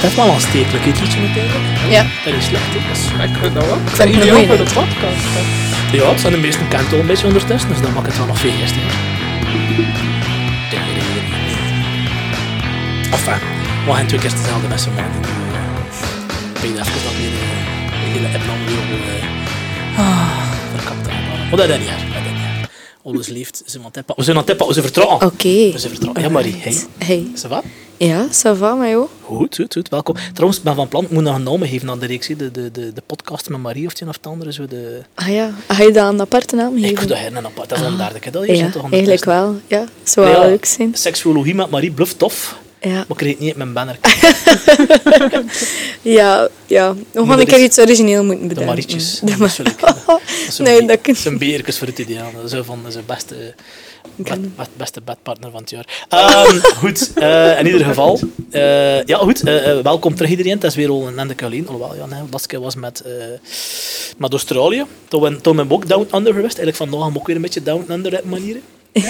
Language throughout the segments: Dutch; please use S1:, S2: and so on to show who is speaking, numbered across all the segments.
S1: Dat is wel een stekelijk liedje meteen.
S2: Ja.
S1: Dat is slecht. hè. Dat is-
S3: Ik vind dat ook.
S2: een
S3: Ideaal
S2: goeie.
S3: voor de podcast. hè.
S1: Ja, het zijn de meesten kent al een beetje ondertussen, dus dan maakt het wel nog veel geestiger. Enfin, we gaan twee keer dezelfde mensen maken. Ik weet even dat weer eh, de hele app weer op eh,
S2: Ah.
S1: verkapt te hebben. Maar dat is niet erg, dat is niet erg. Alles liefd, ze aan tippen. We zijn aan tippen, we zijn vertrouwen.
S2: Oké.
S1: We zijn vertrouwen. Ja, Marie, hey.
S2: Hey.
S1: Is dat wat?
S2: Ja, ça va, maar joh.
S1: Goed, goed, goed. Welkom. Trouwens, ik ben van plan, ik moet nog een naam geven aan de reeks. hè. De, de, de, de podcast met Marie of het een of het andere. Zo de...
S2: Ah ja, ga je dat een aparte naam
S1: Ik vind
S2: geven?
S1: dat een apart. Dat is een derde keer dat je
S2: Ah. Ja,
S1: zit toch aan de
S2: eigenlijk
S1: test.
S2: wel. Ja, zou wel
S1: Ja,
S2: leuk zijn.
S1: Seksuologie met Marie bluff tof.
S2: Ja,
S1: Maar ik reed niet uit mijn banner.
S2: ja, ja. we
S1: Maar
S2: gaan
S1: dat
S2: een keer
S1: is-
S2: iets origineel moeten
S1: De
S2: bedenken.
S1: Marietjes.
S2: De
S1: Dat
S2: Mar-
S1: is wel leuk. Dat zijn
S2: Nee,
S1: be-
S2: dat kan
S1: zijn beerkes voor het ideaal. Dat is Zo van zijn beste, bed,
S2: Kan.
S1: bed- beste bedpartner van het jaar. Ehm, goed, eh, in ieder geval. eh, ja, goed. eh, eh, welkom terug iedereen. Het is weer al een Nende Kaleen. Alhoewel, ja, nee, de laatste keer was met, eh, met Australië. Toen ben- toen ben ik ook down under geweest. Eigenlijk vandaag ben ik ook weer een beetje down under op manieren. Eh,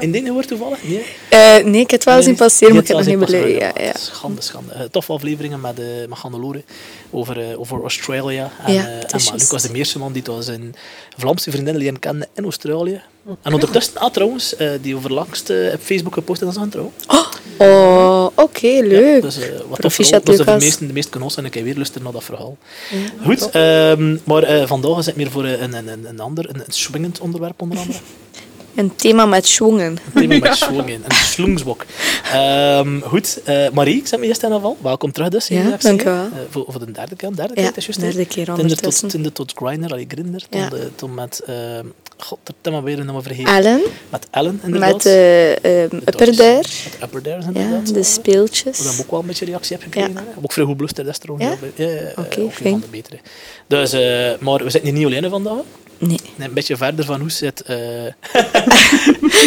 S1: In dit gehoord toevallig? Nee.
S2: Eh, nee, ik heb het wel
S1: Nee,
S2: zien passeren, maar ik
S1: dit
S2: heb het nog
S1: was
S2: niet
S1: in
S2: beleven. Ja,
S1: Passagier.
S2: ja.
S1: Schande, schande. Eh, toffe afleveringen met, eh met Gandeloren over, eh, over Australia. En,
S2: Ja,
S1: eh,
S2: dat
S1: en
S2: is
S1: maar
S2: juist.
S1: Lucas de Meerseman, die was een Vlaamse vriendin leren kennen in Australië. En ondertussen, ah, trouwens, eh, die overlangst eh op Facebook gepost en dat is aan trouw.
S2: Oh, oké,
S1: Ja,
S2: leuk.
S1: dus, eh, wat tof
S2: Proficiat,
S1: verhaal. Dat zijn de
S2: Lucas.
S1: meesten, de meesten kunnen ons en ik heb weer luisteren naar dat verhaal. Goed, ehm, maar eh, vandaag zit meer voor eh, een, een, een, een ander, een, een swingend onderwerp onder andere.
S2: Een thema met schwungen.
S1: Thema met swing in, een sloengsbok. Ehm, goed, eh, Marie, ik zet me eerst aan afval. Welkom terug dus.
S2: Ja,
S1: hier, FC.
S2: dank u wel.
S1: Eh, voor, voor de derde keer, de derde
S2: Ja,
S1: keer, het is juist. hè?
S2: derde keer
S1: Tinder tot,
S2: ondertussen.
S1: Tinder tot Grindr, allee, Grindr,
S2: Ja.
S1: tot, eh, tot met, ehm god, dat heb ik weer een nummer vergeten.
S2: Ellen,
S1: Met Ellen, inderdaad.
S2: met eh ehm Upper
S1: toys.
S2: Dare.
S1: Met Upper Dare,
S2: Ja,
S1: inderdaad.
S2: de
S1: Waar ik
S2: speeltjes.
S1: ook wel een beetje reactie heb gekregen.
S2: Ja.
S1: hè. Ook vrij goed bluster, dat is trouwens.
S2: Ja?
S1: wel bij- ja, ja, ja, eh,
S2: Oké,
S1: ook een van
S2: fijn.
S1: de betere. Dus, eh, maar we zitten hier niet alleen hè, vandaag.
S2: Nee.
S1: Nee, een beetje verder van hoe zit. eh,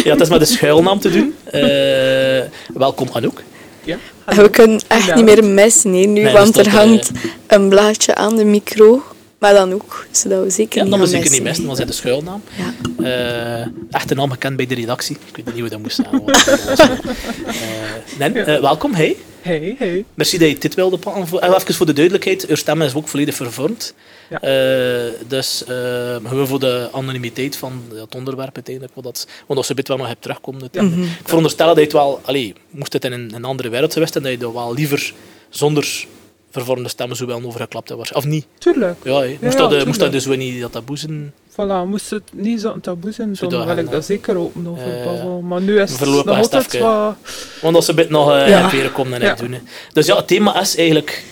S1: ja, het is met de schuilnaam te doen. Eh, welkom Anouk.
S3: Ja.
S2: We kunnen echt
S3: Inderdaad.
S2: niet meer missen nee, nu,
S1: Nee,
S2: want
S1: dus
S2: er
S1: dat, eh,
S2: hangt een blaadje aan de micro. Maar dan ook, zodat we zeker
S1: Ja,
S2: niet
S1: dat
S2: gaan
S1: moet ik niet missen,
S2: missen.
S1: want zij de schuilnaam.
S2: Ja.
S1: Eh echte naam gekend bij de redactie. Ik weet niet hoe dat moest zijn. hoor. Eh, Nen, eh, welkom. Hey.
S3: Hey, hey.
S1: Merci dat je dit wilde pakken. Voor, en even voor de duidelijkheid, uw stem is ook volledig vervormd.
S3: Ja.
S1: Eh, dus eh, gewoon voor de anonimiteit van het onderwerp uiteindelijk. Wat dat, want als je dit wel nog hebt terugkomen.
S3: Mhm.
S1: uiteindelijk. Ik veronderstel dat je het wel, allee, moest het in een, een andere wereld geweest zijn, dat je dat wel liever zonder vervormde stemmen zo wel overgeklapt hebt. Of niet?
S3: Tuurlijk.
S1: Ja, hè. moest,
S3: ja,
S1: dat, eh,
S3: tuurlijk.
S1: moest dat dus wel niet dat taboe zijn?
S3: Voilà, moest het niet zo'n taboe zijn, dan
S1: Zodat
S3: wil
S1: hij,
S3: ik dat zeker open over
S1: eh,
S3: babbelen. Maar nu is het
S1: voorlopig
S3: nog
S1: is het
S3: altijd
S1: even-
S3: wat...
S1: Want als ze dit nog eh
S2: Ja.
S1: naar veren komen, dan
S3: Ja.
S1: heb je het doen. hè. Dus ja, het thema is eigenlijk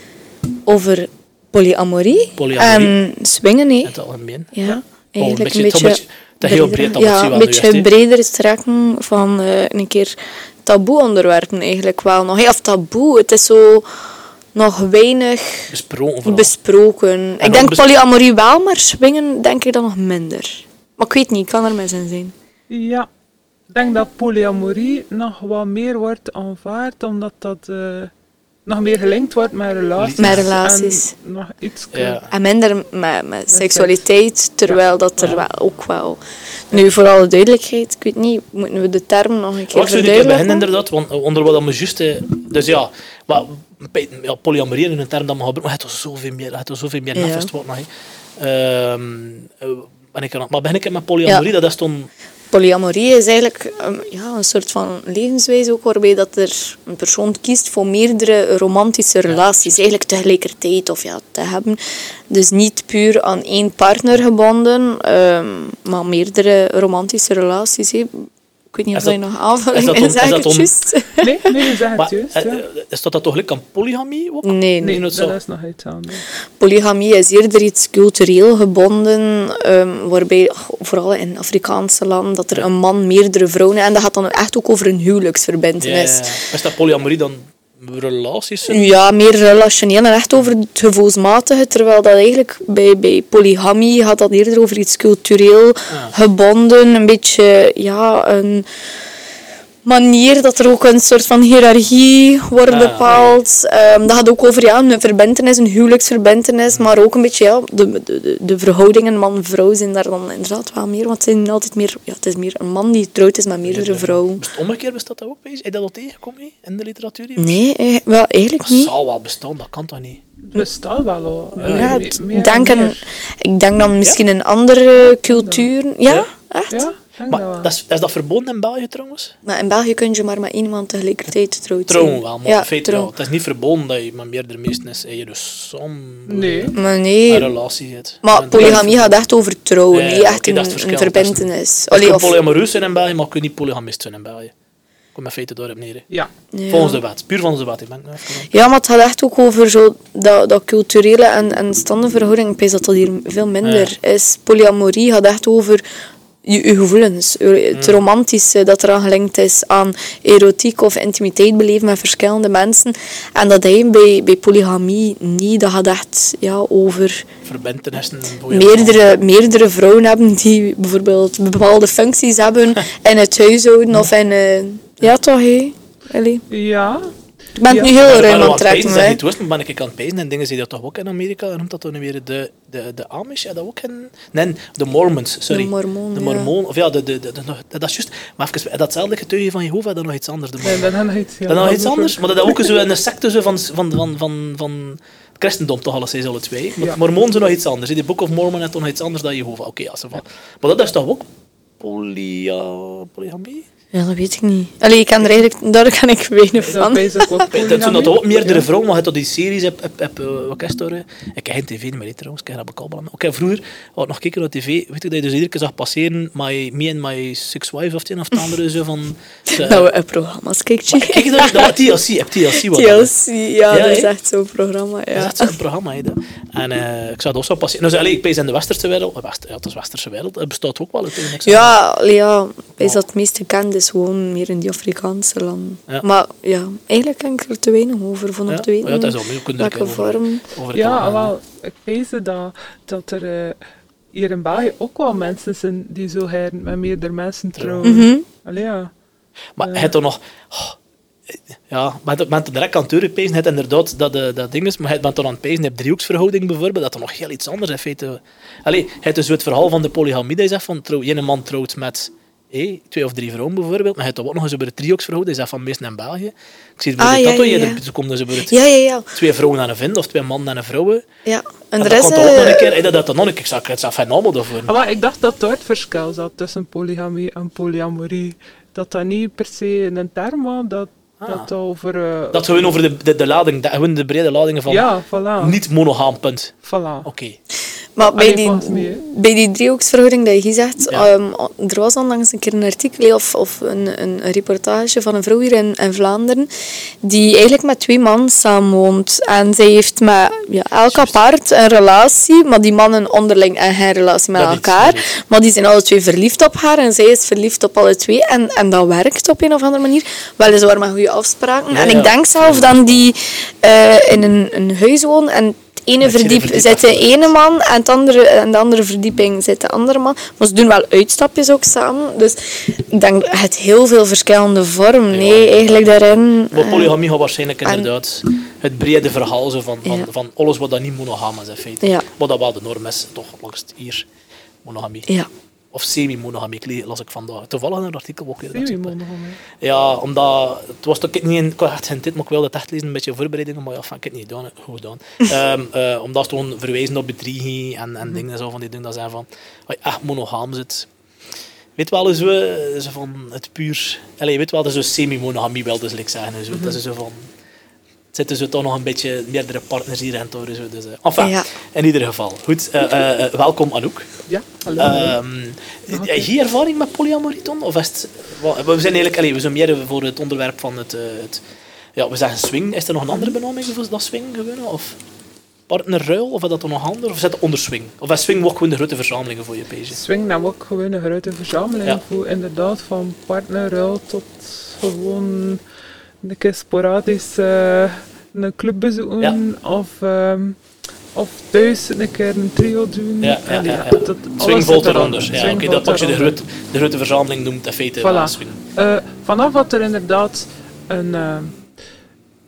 S2: Over polyamorie,
S1: Polyamorie.
S2: en swingen,
S1: in
S2: nee.
S1: het algemeen.
S2: Ja,
S1: Oh,
S2: eigenlijk
S1: het is het is heel breed dat
S2: ja,
S1: we het zien wel
S2: een
S1: nu
S2: beetje
S1: juist, hè.
S2: breder trekken van eh, een keer taboe onderwerpen eigenlijk wel nog. hè. Of taboe, het is zo nog weinig
S1: Besproken vooral.
S2: besproken.
S1: ook
S2: Ik denk
S1: bes-
S2: polyamorie wel, maar swingen denk ik dan nog minder. Maar ik weet niet, ik kan er mis in zijn.
S3: Ja, ik denk dat polyamorie nog wat meer wordt aanvaard, omdat dat eh, nog meer gelinkt wordt met relaties.
S2: Met relaties.
S3: En nog iets.
S1: ja.
S2: En minder met, met seksualiteit, terwijl dat er wel ook wel... Nu, voor alle duidelijkheid, ik weet niet, moeten we de term nog een keer
S1: Wat zou ik keer beginnen,
S2: verduidelijken?
S1: inderdaad? Want eh, onder wat we juist... eh, Dus ja, maar, bij- ja polyamorie in een term dat we gebruiken, maar je hebt er zoveel meer, je hebt er zoveel meer
S2: Ja.
S1: nefest wat nog. hè. Ehm, eh, ben ik er nog- maar begin ik met polyamorie, dat is toen...
S2: Polyamorie is eigenlijk ehm, ja, een soort van levenswijze ook waarbij dat er een persoon kiest voor meerdere romantische relaties, eigenlijk tegelijkertijd of ja, te hebben. Dus niet puur aan één partner gebonden, ehm, maar meerdere romantische relaties. hè. Ik weet niet
S1: Is
S2: of dat, je
S1: dat-
S2: nog aanvulling
S1: is dat
S2: in
S1: om- is
S2: zegt,
S1: dat om-
S2: juist.
S3: Nee, nee, je zegt
S1: Maar,
S3: het juist.
S1: eh,
S3: ja.
S1: eh, is dat, dat toch gelijk aan polygamie ook?
S2: Nee,
S3: Nee,
S2: nee.
S1: dat
S3: dat
S1: zou-
S3: is nog iets anders.
S2: Polygamie is eerder iets cultureel gebonden, ehm, waarbij oh, vooral in Afrikaanse landen dat er een man meerdere vrouwen en dat gaat dan echt ook over een
S1: Ja,
S2: huwelijksverbintenis.
S1: Is dat polyamorie dan relaties?
S2: Ja, meer relationeel en echt over het gevoelsmatige. Terwijl dat eigenlijk bij, bij polygamie gaat dat eerder over iets cultureel gebonden. Een beetje, ja, een, manier dat er ook een soort van hiërarchie wordt
S1: Ah,
S2: bepaald. Ehm, dat gaat ook over ja, een verbintenis, een huwelijksverbintenis, maar ook een beetje ja, de, de, de- de verhoudingen man-vrouw zijn daar dan inderdaad wel meer. Want het, zijn altijd meer, ja, het is meer een man die trouwd is met meerdere vrouwen.
S1: Best- Omgekeerd bestaat dat ook bij? Is dat al tegengekomen niet? in de literatuur? hier?
S2: Nee, eh, wel, eigenlijk
S1: Dat
S2: niet.
S1: zal wel bestaan, dat kan toch niet?
S3: Bestaat wel al. Eh,
S2: Ja,
S3: me-
S2: het-
S3: meer en
S2: denk aan-
S3: meer.
S2: ik denk dan misschien in andere culturen. Ja,
S1: Ja?
S2: echt.
S3: Ja, ik denk dat wel.
S1: Maar dat is, is dat verboden in België trouwens?
S2: Maar in België kun je maar met één man tegelijkertijd trouwd zijn.
S1: Trouwen wel, maar in feite
S2: trouw.
S1: wel. Het is niet verboden dat je met meerdere meesten is en je dus soms
S3: Nee.
S2: Maar
S1: een
S2: nee,
S1: relatie zit.
S2: maar
S1: En
S2: polygamie gaat echt over trouwen,
S1: Ja,
S2: niet
S1: oké,
S2: echt
S1: dat is het
S2: een,
S1: verschil.
S2: een verbintenis.
S1: Je
S2: Allee,
S1: kunt
S2: of,
S1: polyamoreus zijn in België, maar je kunt niet polygamist zijn in België. Kom in feite daarop neer. hè.
S3: Ja.
S2: ja.
S1: Volgens de wet. Puur volgens de wet. Ik ben nou even-
S2: Ja, maar het gaat echt ook over zo dat, dat culturele en, en standenverhouding. Ik denk dat dat hier veel minder is. Polyamorie gaat echt over je, je gevoelens. je- Het romantische dat eraan gelinkt is aan erotiek of intimiteit beleven met verschillende mensen. En dat heb je bij, bij polygamie niet. Dat gaat echt ja, over
S1: verbintenissen. en polyamorie.
S2: meerdere, meerdere vrouwen hebben die bijvoorbeeld bepaalde functies hebben in het huishouden of in... eh, ja, toch, hé? Allee.
S3: Ja.
S2: Ik ben het
S3: Ja.
S2: nu heel
S1: Ik ben
S2: ruim
S1: wel
S2: aan
S1: aan
S2: het
S1: het
S2: trekken,
S1: pezen, zeg
S2: hè.
S1: je het wist, maar ben ik aan het pezen. En dingen zie je dat toch ook in Amerika. En noemt dat dan weer de, de, de Amish? Ja, dat ook in... Nee, de Mormons, sorry.
S2: De Mormonen,
S1: De
S2: ja.
S1: Mormonen, Of ja, de, de, de, de- nog- dat is juist... Maar even, datzelfde getuige van Jehovah, dat is nog iets anders. De
S3: Nee,
S1: Mormonen.
S3: dat is nog iets heel
S1: dat is nog iets anders. Maar dat is ook zo een secte zo van, van, van, van, van het christendom, toch alles is alle twee. Maar
S3: Ja.
S1: Mormonen zijn nog iets anders. hè. Die Book of Mormon is toch nog iets anders dan Jehovah. Oké, ja, ze van. Maar dat is toch ook polia, polygamie?
S2: Ja, dat weet ik niet. Allee, ik kan er eigenlijk, daar kan ik weinig
S3: Dat
S2: van.
S3: wees ik ook
S1: Ik denk dat
S3: polygamie.
S1: er ook meerdere vrouwen, maar je hebt dat die series, heb, heb, heb, eh, wat is het daar, eh? Ik kijk geen tv meer hè, trouwens, ik kijk dat bekal Oké, vroeger, had ik nog kijken naar tv, weet ik dat je dus iedere keer zag passeren, my, me and my six wives of het een of het andere, zo van... ze-
S2: Dat we eh, programma's kijkt.
S1: Maar kijk je dat, dat was TLC, heb TLC wat dat is.
S2: TLC, ja,
S1: Ja,
S2: dat is
S1: hè?
S2: echt zo'n programma,
S1: Dat is
S2: ja.
S1: echt zo'n programma, hè, dat. En eh, ik zou dat ook zo passeren. Nou, allee, ik pees in de westerse wereld, eh, west, ja, het is westerse wereld, het bestaat ook wel, het is niks aan.
S2: Ja, allee, ja, is dat het meest gekend is gewoon meer in die Afrikaanse landen.
S1: Ja.
S2: Maar ja, eigenlijk kan ik er te weinig over, van op
S1: Ja?
S2: te weten
S1: Maar ja, dat is ook, je kunt er
S2: welke
S1: een keer over-
S2: vorm.
S1: over
S3: Ja,
S1: praten.
S3: wel. Ik weet dat, dat er eh, hier in België ook wel mensen zijn die zo heren met meerdere mensen trouwen.
S1: Mhm.
S3: Allee, ja.
S1: Maar het toch nog. oh, ja, maar het bent direct aan het deuren pezen. Het inderdaad dat, eh, dat ding is. Maar het bent dan aan het pezen. Je hebt driehoeksverhouding bijvoorbeeld. Dat is nog heel iets anders. In feite. Allee, het is zo het verhaal van de polygamie. Dat je zegt van. Trouw, je man trouwt met. hé, twee of drie vrouwen bijvoorbeeld. Maar het ook nog eens over de driehoeksverhouding. Dat is dat van meesten in België. Ik zie het bij
S2: Ah,
S1: de
S2: ja,
S1: tattoo.
S2: ja,
S1: je-
S2: ja.
S1: er- Ze komen dus over het-
S2: Ja, ja, ja.
S1: twee vrouwen en een vent. Of twee mannen en een vrouwen.
S2: ja. En
S1: En
S2: de
S1: dat
S2: rest...
S1: komt er ook nog een
S2: eh,
S1: keer. hé, dat dat dan nog een keer. Ik zou het zelf helemaal daarvoor.
S3: Ah, Maar ik dacht dat daar het verschil zat tussen polygamie en polyamorie. Dat dat niet per se een term was, dat dat dat over... eh,
S1: Dat gewoon over de, de, de lading. Dat gewoon de brede ladingen van.
S3: Ja, voilà.
S1: Niet Oh, monogaam, punt.
S3: Voilà.
S1: Oké.
S2: Maar bij
S3: Allee,
S2: die,
S3: volgens mij, hè.
S2: bij die driehoeksverhouding dat je zegt,
S1: Ja.
S2: ehm, er was onlangs een keer een artikel of, of een, een reportage van een vrouw hier in, in Vlaanderen, die eigenlijk met twee mannen samenwoont. En zij heeft met ja, elk apart een relatie, maar die mannen onderling en geen relatie met
S1: Dat niet,
S2: elkaar.
S1: dat niet.
S2: Maar die zijn alle twee verliefd op haar en zij is verliefd op alle twee. En, en dat werkt op een of andere manier. Weliswaar met goede afspraken.
S1: Ja,
S2: en ik
S1: ja.
S2: denk zelf dan die eh, in een, een huis woont en het ene
S1: Met z'n
S2: verdiep
S1: verdiep
S2: zit de
S1: achter.
S2: ene man en het andere, en de andere verdieping zit de andere man. Maar ze doen wel uitstapjes ook samen. Dus ik denk, het heel veel verschillende vormen. Nee, eigenlijk daarin.
S1: Maar
S2: eh,
S1: polygamie gaat waarschijnlijk
S2: en-
S1: inderdaad het brede verhaal zo van, van,
S2: Ja.
S1: van alles wat dat niet monogaam is in feite.
S2: Ja.
S1: Wat dat wel de norm is, toch langs het hier. Monogamie.
S2: ja.
S1: Of semi-monogamie, ik le- las ik vandaag. Toevallig in een artikel ook. weer dat
S3: Zie je,
S1: zo-
S3: man, man, hè.
S1: Ja, omdat... Het was toch ik niet in... Ik had echt geen tijd, maar ik wilde het echt lezen. Een beetje voorbereidingen, maar ja, van, ik heb het niet gedaan. hè. Goed gedaan. Ehm, eh, omdat ze gewoon verwijzen op bedriegie en, en dingen zo van die dingen. Dat zijn van... Als je echt monogaam zit... Weet wel, zo, eh, zo van het puur... Allee, weet wel, dat is zo semi-monogamie wel, dus ik zeggen. en Zo. Dat is zo van... Het zitten zo toch nog een beetje meerdere partners hier en daar. en Zo, dus, eh, enfin,
S2: Ja.
S1: in ieder geval. Goed, eh, eh, eh, welkom Anouk.
S3: Ja, hallo.
S1: Ehm, heb je ervaring met polyamorie, Ton? Of is het, wa- we zijn eigenlijk allee, we zijn meer voor het onderwerp van het, eh, het... Ja, we zeggen swing. Is er nog een
S3: Mhm.
S1: andere benaming voor dat swing gewonnen? Of partnerruil? Of is dat dan nog anders? Of zit het onder swing? Of is swing ook gewoon de grote verzamelingen voor je pages?
S3: Swing nam ook gewoon een grote verzameling
S1: Ja.
S3: voor inderdaad van partnerruil tot gewoon een keer sporadisch eh, een club bezoeken
S1: Ja.
S3: of ehm, Of thuis een keer een trio doen.
S1: Ja, ja,
S3: Allee,
S1: ja, ja.
S3: dat-
S1: Swing
S3: alles
S1: valt
S3: zit eronder.
S1: eronder. Ja,
S3: Swing
S1: oké, dat
S3: valt
S1: pak je de,
S3: eronder.
S1: grote de grote verzameling noemt in feite
S3: Voilà.
S1: wel swing.
S3: Eh, vanaf dat er inderdaad een, eh,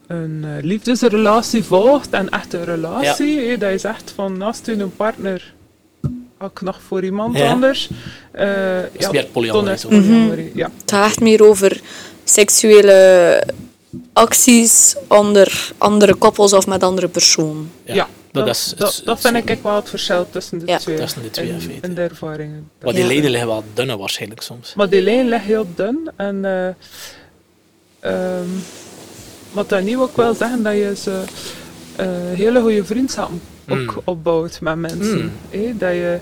S3: een eh, liefdesrelatie volgt en echt een relatie, hè, dat is echt van naast hun een partner ook nog voor iemand
S1: Ja.
S3: anders. Eh,
S1: is meer polyamorie,
S3: dan is
S1: zo.
S3: polyamorie, Mhm. ja.
S2: Het gaat echt meer over seksuele acties onder andere koppels of met andere personen.
S1: Ja,
S3: Ja,
S1: dat, is,
S3: dat,
S1: is-
S3: dat
S1: is-
S3: vind ik echt wel het verschil tussen de
S2: Ja.
S3: twee.
S1: Tussen de twee, in feite.
S3: de ervaringen.
S1: Maar die
S2: Ja.
S1: leden liggen wel dunner waarschijnlijk soms.
S3: Maar die lijn ligt heel dun. En eh, ehm, wat dat nieuw ook wil zeggen, dat je ze, eh, hele goede vriendschappen
S1: Mm.
S3: ook opbouwt met mensen.
S1: Mm.
S3: Hé, dat je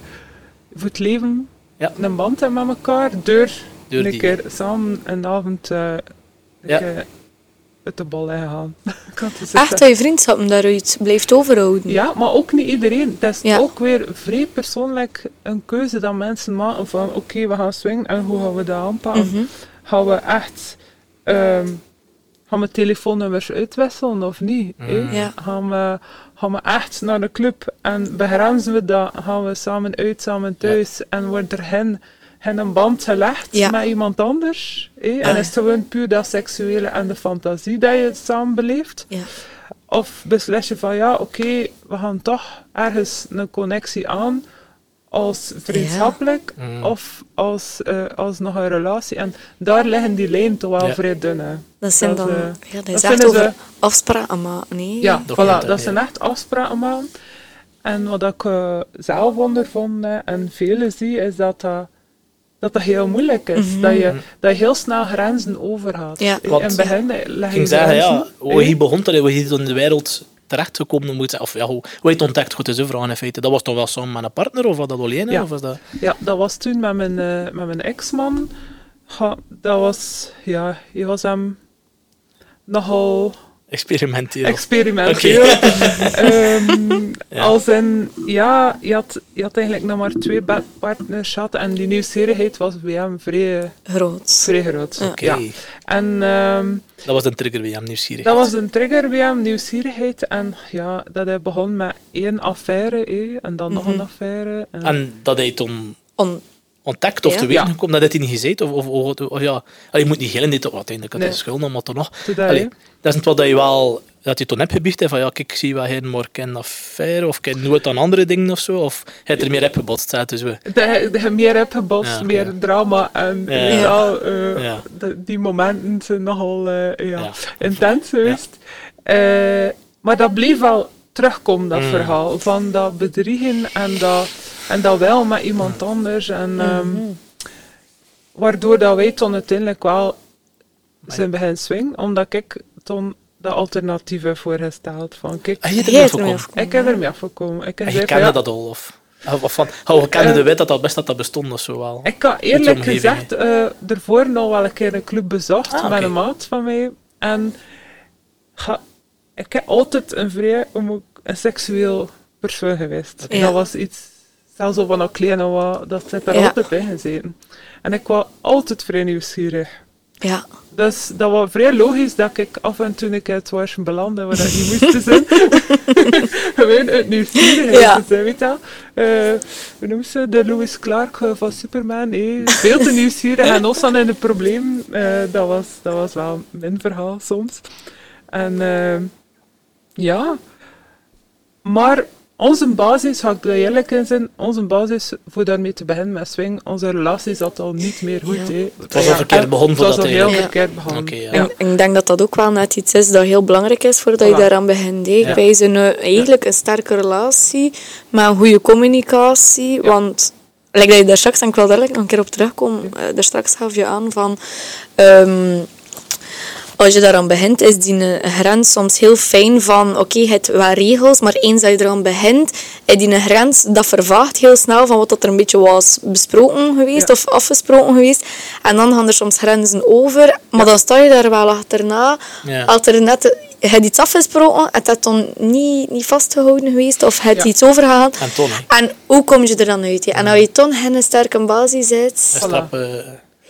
S3: voor het leven
S1: Ja.
S3: een band hebt met elkaar door,
S1: Door
S3: een
S1: die-
S3: keer samen een avond eh, een
S1: Ja.
S3: keer uit de bal heen gaan. Ik had het zo
S2: Echt dat je vriendschappen daaruit blijft overhouden.
S3: Dus ja, maar ook niet iedereen. Het is
S2: Ja.
S3: ook weer vrij persoonlijk een keuze dat mensen maken van oké, we gaan swingen en hoe gaan we dat aanpakken?
S2: Mhm.
S3: Gaan we echt ehm, gaan we telefoonnummers uitwisselen of niet? hè?
S1: Mm.
S2: Ja.
S3: Gaan, we, gaan we echt naar de club en begrenzen we dat? Gaan we samen uit, samen thuis en wordt er geen, geen een band gelegd
S2: Ja.
S3: met iemand anders? hè? En
S2: ja.
S3: is het gewoon puur dat seksuele en de fantasie dat je het samen beleeft?
S2: Ja.
S3: Of beslis je van ja, oké, we gaan toch ergens een connectie aan als vriendschappelijk
S2: Mm.
S3: of als, eh, als nog een relatie. En daar liggen die lijnen toch wel
S1: Ja.
S3: vrij dun. hè.
S2: Dat zijn
S3: Dat,
S2: dan,
S3: eh,
S2: ja, dat
S3: dat
S2: is echt
S3: vinden
S2: over
S3: ze-
S2: afspraken maken. Nee.
S3: Ja,
S1: dat
S3: voilà,
S1: klopt,
S3: dat
S1: ja.
S3: zijn echt afspraken maken. En wat ik eh, zelf ondervond eh, en velen zie, is dat dat, dat, dat heel moeilijk is. Dat, je, dat je heel snel grenzen overgaat.
S2: Ja.
S3: In
S1: Want-
S3: het begin eh, leg
S1: Ik
S3: je
S1: ging zeggen, ja, oh,
S3: grenzen,
S1: hoe
S3: hè.
S1: je begon dat, hoe je in de wereld terechtgekomen moet zijn. Of ja, hoe, hoe je het ontdekt, goed is een vraag in feite. Dat was toch wel samen met een partner, of was dat alleen? hè?
S3: Ja.
S1: Of was dat...
S3: Ja, dat was toen met mijn, eh, met mijn ex-man. Ja, dat was, ja, je was hem nogal
S1: Experimenteel.
S3: experimenteel. Ehm, Als in, ja, je had, je had eigenlijk nog maar twee bedpartners gehad en die nieuwsgierigheid was bij hem vrij, eh,
S2: Groot.
S3: vrij groot. Ja.
S1: Oké.
S3: En ehm,
S1: Dat was een trigger bij hem, nieuwsgierig.
S3: dat was een trigger bij hem, nieuwsgierigheid. En ja, dat hij begon met één affaire eh, en dan nog een affaire. En,
S1: En dat hij toen
S2: On,
S1: ontdekt of
S2: Ja.
S1: te weten
S3: Ja.
S1: gekomen dat hij niet gezegd of, of, of, of- ja, Allee, je moet niet gillen dit uiteindelijk had hij
S3: Nee.
S1: schulden maar toch nog
S3: Toen dat,
S1: Allee,
S3: hè?
S1: dat is het wat dat je wel dat je toen hebt gebiecht hè, van ja kijk ik zie wel geen maar ken affaire of ken nooit aan andere dingen of zo of je hebt er meer hebt gebotst hè, dus we
S3: dat je meer hebt gebotst,
S1: Ja, oké.
S3: meer drama en
S1: Ja.
S3: weet je wel, eh,
S1: Ja.
S3: de- die momenten zijn nogal eh, ja,
S1: Ja.
S3: intens geweest. Eh, maar dat bleef wel terugkomen, dat
S1: Mm.
S3: verhaal, van dat bedriegen en dat, en dat wel met iemand
S1: Mm.
S3: anders. En, ehm, waardoor dat wij toen uiteindelijk wel zijn beginnen swingen, omdat ik toen de alternatieven voorgesteld van kijk,
S1: Ah, je hebt er
S2: Jij
S1: meer
S2: hebt
S1: voor
S2: er
S1: komen
S2: meer voor
S3: ik heb ermee afgekomen. Ik heb
S1: en je
S3: gezegd van,
S1: kende
S3: ja,
S1: dat al of of van oh, we kenden
S3: Eh,
S1: de wet dat dat best dat dat bestond of zo wel
S3: Ik had
S1: Met
S3: eerlijk
S1: je omgeving,
S3: gezegd eh ervoor nog wel een keer een club bezocht
S1: Ah,
S3: met
S1: oké.
S3: een maat van mij. En ga- ik heb altijd een vrij homo- een seksueel persoon geweest.
S2: Ja.
S3: Dat was iets, zelfs al van een kleine wat, dat zit daar
S2: Ja.
S3: altijd bij gezeten. En ik was altijd vrij nieuwsgierig.
S2: ja.
S3: Dus dat was vrij logisch dat ik af en toe een keer het was belandde waar ik niet moest zijn. Gewoon uit nieuwsgierigheid
S2: Ja.
S3: te zijn, weet je wel. Eh, Hoe noemt ze? De Louis Clark eh, van Superman. eh, Veel te nieuwsgierig en ons dan in het probleem. Eh, dat, was, dat was wel mijn verhaal soms. En eh, ja... Maar onze basis, ga ik er eerlijk in zijn, onze basis voor daarmee te beginnen met swing, onze relatie zat al niet meer goed.
S2: Ja.
S3: hè.
S1: was al
S3: Ja,
S1: verkeerd
S3: en
S1: begonnen
S3: Het was
S1: voordat
S3: al
S1: hij-
S3: heel
S2: Ja.
S3: verkeerd begonnen.
S1: Oké, ja.
S3: Ja.
S2: En ik denk dat dat ook wel net iets is dat heel belangrijk is voordat je
S3: Voilà.
S2: daaraan begint. hè.
S1: Ja.
S2: Bij zo'n eh, eigenlijk een sterke relatie, met een goede communicatie. Want, like dat je daar straks, en ik wil daar eigenlijk nog een keer op terugkomen, eh, daar straks gaf je aan van... ehm, als je daaraan begint, is die eh, grens soms heel fijn van... Oké, je hebt wel regels, maar eens dat je eraan begint... Is die eh, grens, dat vervaagt heel snel van wat dat er een beetje was besproken geweest
S3: Ja.
S2: of afgesproken geweest. En dan gaan er soms grenzen over. Maar dan sta je daar wel achterna.
S1: Ja.
S2: Als er net... eh, Je hebt iets afgesproken, het had dan niet, niet vastgehouden geweest of het
S3: Ja.
S2: iets overgehaald.
S1: En toen, hè?
S2: En hoe kom je er dan uit? hè? En als je toen geen sterke basis hebt...
S1: Dat is trap, eh,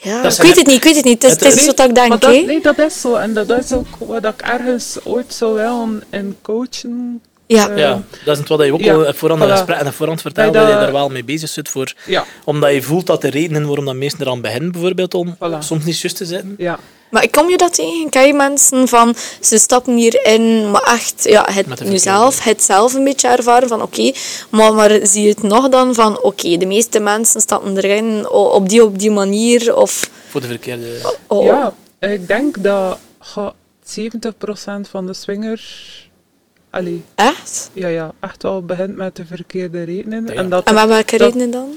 S2: Ja,
S1: Dat
S2: ik
S1: zijn-
S2: weet het niet, ik weet het niet. Het is,
S1: Het is-
S2: het is wat ik denk,
S3: maar dat,
S2: hè.
S3: nee, dat is zo. En dat is ook wat ik ergens ooit zou willen in coachen,
S2: Ja.
S1: Ja, dat is het wat je ook
S3: Eh, Ja,
S1: al eh, voorhand aan
S3: voilà.
S1: gesprek en voorhand vertelde,
S3: Bij
S1: dat
S3: dat-
S1: je daar wel mee bezig zit. Voor,
S3: Ja,
S1: omdat je voelt dat de redenen waarom dat mensen eraan beginnen, bijvoorbeeld, om
S3: Voilà.
S1: soms niet juist te zitten.
S3: ja.
S2: Maar ik kom je dat tegen? Ken je mensen van, ze stappen hierin, maar echt, ja,
S1: Met
S2: het
S1: de
S2: nu
S1: verkeerde.
S2: zelf, het zelf een beetje ervaren van, oké, maar, maar zie je het nog dan van, oké, de meeste mensen stappen erin o- op die, op die manier, of...
S1: Voor de verkeerde...
S2: oh,
S3: Ja, ik denk dat goh, 70% van de swingers. Allee,
S2: Echt?
S3: ja, ja, echt wel begint met de verkeerde redenen.
S1: Ja.
S3: En dat,
S2: En met welke
S3: dat-
S2: redenen dan?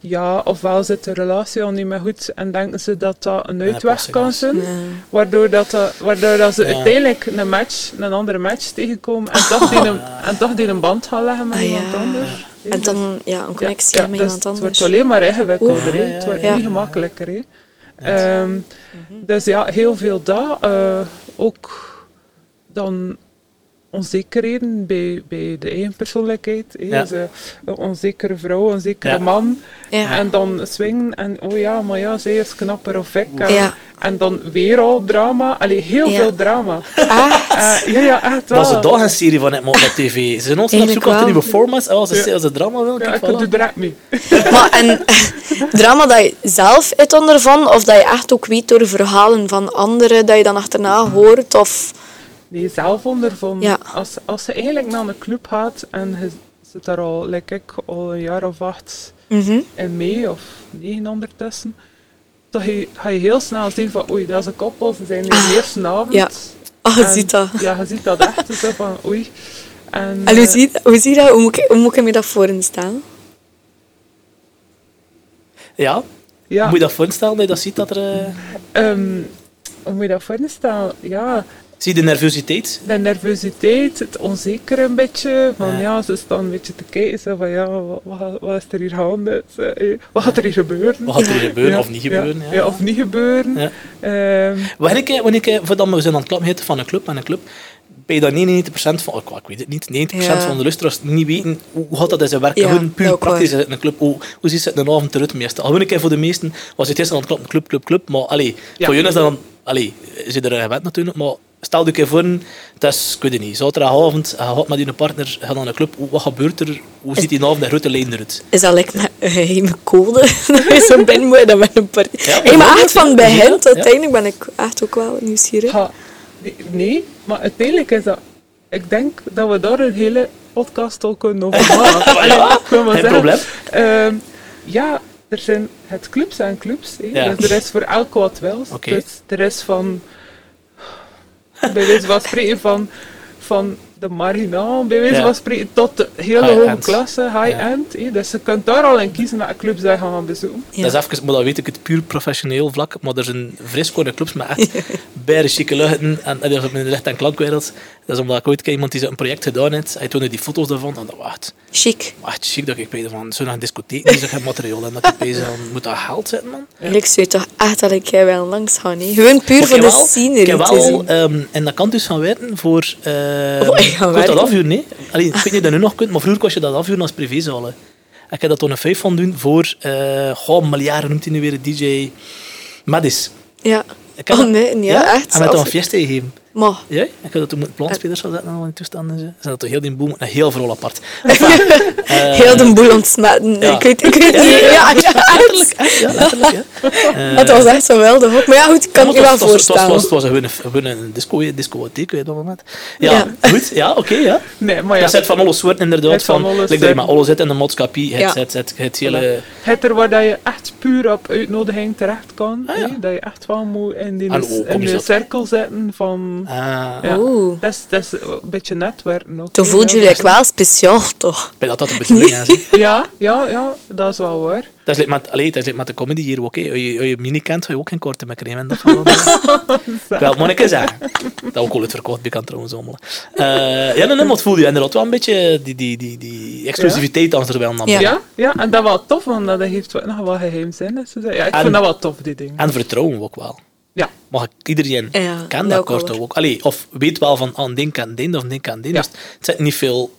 S3: ja, ofwel zit de relatie al niet meer goed en denken ze dat dat een uitweg
S1: oplossing
S3: kan
S1: is.
S3: zijn.
S2: Ja.
S3: Waardoor, dat, dat- waardoor dat ze
S1: Ja.
S3: uiteindelijk een match, een andere match tegenkomen en toch die een, en toch die een band gaan leggen met
S2: Ah,
S3: iemand
S2: ja.
S3: anders.
S2: En dan ja, een connectie
S3: Ja,
S2: met
S3: dus
S2: iemand
S3: Het wordt
S2: anders.
S3: alleen maar ingewikkelder, hè.
S1: Oeh.
S3: het wordt
S2: Ja, ja,
S3: niet
S2: ja.
S3: gemakkelijker. Hè. Ehm,
S2: Mhm.
S3: dus ja, heel veel daar. eh, ook dan onzekerheden bij, bij de eigen persoonlijkheid. Hè.
S1: Ja.
S3: Dus, eh, een onzekere vrouw, een zekere
S1: Ja.
S3: man.
S2: Ja.
S3: En dan swingen en oh ja, maar ja, zij is knapper of ik. En,
S2: Ja.
S3: en dan weer al drama. Allee, heel
S2: Ja.
S3: veel drama.
S2: Echt?
S3: Eh, ja, ja, echt wel.
S1: Dat is het dag een serie van het op tv. Ze zijn ons op
S2: Eigenlijk
S1: zoek naar
S2: wel.
S1: nieuwe formats. En als ze
S3: Ja.
S1: als ze drama wil,
S3: Ja,
S1: kijk,
S3: ik doe
S1: voilà.
S3: er echt mee.
S2: Maar en drama dat je zelf het ondervan, of dat je echt ook weet door verhalen van anderen dat je dan achterna hoort, of...
S3: Nee, zelf ondervonden.
S2: Ja.
S3: Als, als ze eigenlijk naar een club gaat en je zit daar al, like ik, al een jaar of acht
S2: Mhm.
S3: in mee of negen ondertussen, dan ga je, ga je heel snel zien van oei, dat is een koppel, ze zijn hier de eerste avond.
S2: ja. Ah, je
S3: En-
S2: ziet dat.
S3: Ja, je ziet dat echt. zo van oei. En,
S2: En hoe
S3: eh,
S2: zie, hoe zie je dat? Hoe moet, ik, hoe moet ik me dat voorstellen?
S1: Ja,
S3: eh, ja,
S1: moet je dat voorstellen dat je dat ziet? Dat er, eh,
S3: ehm, hoe moet je dat voorstellen? Ja,
S1: Zie je de nervositeit?
S3: de nervositeit, het onzekere een beetje. Van
S1: Ja.
S3: ja, ze staan een beetje te kijken. Zo van ja, wat, wat, wat is er hier gaande? Zo, eh, Wat gaat er hier gebeuren?
S1: Wat gaat er
S2: Ja.
S1: gebeuren
S3: Ja,
S1: of niet gebeuren?
S3: Ja,
S1: Ja.
S3: ja, of niet gebeuren.
S1: Ja.
S3: Ehm,
S1: Wanneer ik, eh, wanneer ik, voordat we zijn aan het klappen hitten van een club en een club, bij dat 99% van, oh, ik weet het niet, 90%
S2: Ja.
S1: van de luisteraars niet weten hoe hoe gaat dat in zijn werk.
S2: Ja,
S1: Gewoon puur
S2: dat ook
S1: praktisch
S2: waar.
S1: in een club. Hoe, hoe ziet ze het in een avond eruit meestal? Al een keer voor de meesten was het eerst aan het klappen, club, club, club. Maar allee,
S3: Ja.
S1: voor jullie is dat dan, allee, eh, zit er een gewend natuurlijk, maar stel je een keer voor, dat is, ik weet het niet, zaterdagavond, je gaat met je partner, je gaat naar een club, hoe- wat gebeurt er? Hoe ziet die avond de grote lijn eruit?
S2: Is dat like met een geheime code? dat je zo binnen moet en dan met een party.
S1: Ja,
S2: hey, maar echt van bij
S1: zie je
S2: hen
S1: dat?
S2: tot
S1: Ja.
S2: uiteindelijk ben ik echt ook wel nieuwsgierig.
S3: ha, nee, nee, maar uiteindelijk is dat... Ik denk dat we daar een hele podcast al kunnen over maken.
S1: Maar ja,
S3: Ik wil maar
S1: geen
S3: zeggen,
S1: probleem.
S3: ehm, ja, er zijn het clubs en clubs. hè.
S1: Ja.
S3: Dus er is voor elk wat wel.
S1: Oké.
S3: Dus er is van... Bij wijze van spreken van... Van de marginaal, bij wijze
S1: Ja.
S3: van spreken, tot de hele
S1: High-end.
S3: hoge klasse, high-end. hè. Dus je kunt daar al in kiezen welke clubs dat je gaan bezoeken.
S2: Ja.
S1: Dat is even, maar dat weet ik het puur professioneel vlak. Maar er zijn vriskoorde clubs met echt bijre chique luchten. En, en dat is op mijn licht- en klankwereld. Dat is omdat ik ooit keer iemand die zo'n project gedaan heeft. Hij toonde die foto's daarvan. En dat was echt,
S2: Chic.
S1: echt chic dat ik weet van zo'n discotheek. Die zeggen materiaal. En dat ik bezig van, moet dat geld zitten, man?
S2: Eigenlijk zou je toch echt dat ik jij wel langs gaan, hè? Gewoon puur
S1: Maar
S2: voor
S1: ik
S2: de
S1: heb wel-
S2: scenery
S1: Ik heb
S2: te
S1: wel
S2: zien.
S1: ehm, en dat kan dus gaan weten voor. ehm
S2: ik
S1: je
S2: ga
S1: kunt dat
S2: werken.
S1: afhuren, nee? Allee, ik weet niet of je dat nu nog kunt, maar vroeger kon je dat afhuren als privézaal. hè. Ik heb dat toen een vijf van doen voor. eh goh, miljarden noemt hij nu weer DJ Madis.
S2: Ja.
S1: Ik heb
S2: Oh
S1: dat-
S2: nee, nee, echt.
S1: En met dan een
S2: zelfs-
S1: fiesta gegeven.
S2: Maar,
S1: Ja? Ik heb dat toen met plantspelers al zetten en al die toestanden. Ze Zijn dat toch heel die boom, een heel vooral apart.
S2: heel de boel ontsmetten.
S1: ja.
S2: Ik weet, ik weet niet. Ja, ja,
S1: Letterlijk,
S2: echt.
S1: hè? ja, letterlijk. Ja. Eh,
S2: Het was echt geweldig ook. Maar ja, goed, ik kan
S1: ja,
S2: het je
S1: maar
S2: wel
S1: het was- het was- Het was,
S2: voorstellen.
S1: het was, gewoon een- gewoon een disco, hè, discotheek hè, op dat moment. Ja,
S2: Ja.
S1: goed. Ja, oké. ja.
S3: Nee, maar ja.
S1: Dat zit van alle soorten inderdaad.
S3: Het
S1: Van,
S3: van alle
S1: like dat je
S3: soorten.
S1: met alle zit in de maatschappij. Het,
S2: Ja.
S1: het, het, het hele...
S3: Het er waar dat je echt puur op uitnodiging terecht kan.
S1: Ah, ja.
S3: hè, Dat je echt wel moet in die,
S1: En hoe kom
S3: in
S1: je
S3: die
S1: dat-
S3: cirkel zitten van...
S1: Ah,
S3: ja.
S2: Oeh.
S3: Dat, is, dat is een beetje netwerken ook.
S2: Toen
S3: hè,
S2: voelde
S3: ja.
S2: je like wel speciaal, toch?
S1: ik ben dat dat een bedoeling is. hè.
S3: Ja, ja, ja. Dat is wel waar.
S1: Dat is like met, allee, dat is like met de comedy hier ook. hè. Als je, als je mini kent, ga je ook geen korte meer krijgen. in Dat van Wel, moet ik eens zeggen. Dat ook al het verkocht bij kan trouwens allemaal. Eh, ja, nee, nee, maar het voelde je inderdaad wel een beetje die, die, die, die exclusiviteit als er wel nam.
S2: Ja.
S3: Ja. ja, en dat wel tof, want dat heeft wel- nog wel geheimzinnig. te zijn. Ja, ik
S1: En-
S3: vind dat wel tof, die dingen.
S1: En vertrouwen ook wel.
S3: Ja.
S1: Mag ik iedereen
S2: Ja,
S1: kent
S2: dat
S1: dat
S2: ook wel,
S1: korte
S2: hoor.
S1: ook. Allee, of weet wel van aan ding kan dit of ding kan dit.
S3: Ja.
S1: Dus het zit niet veel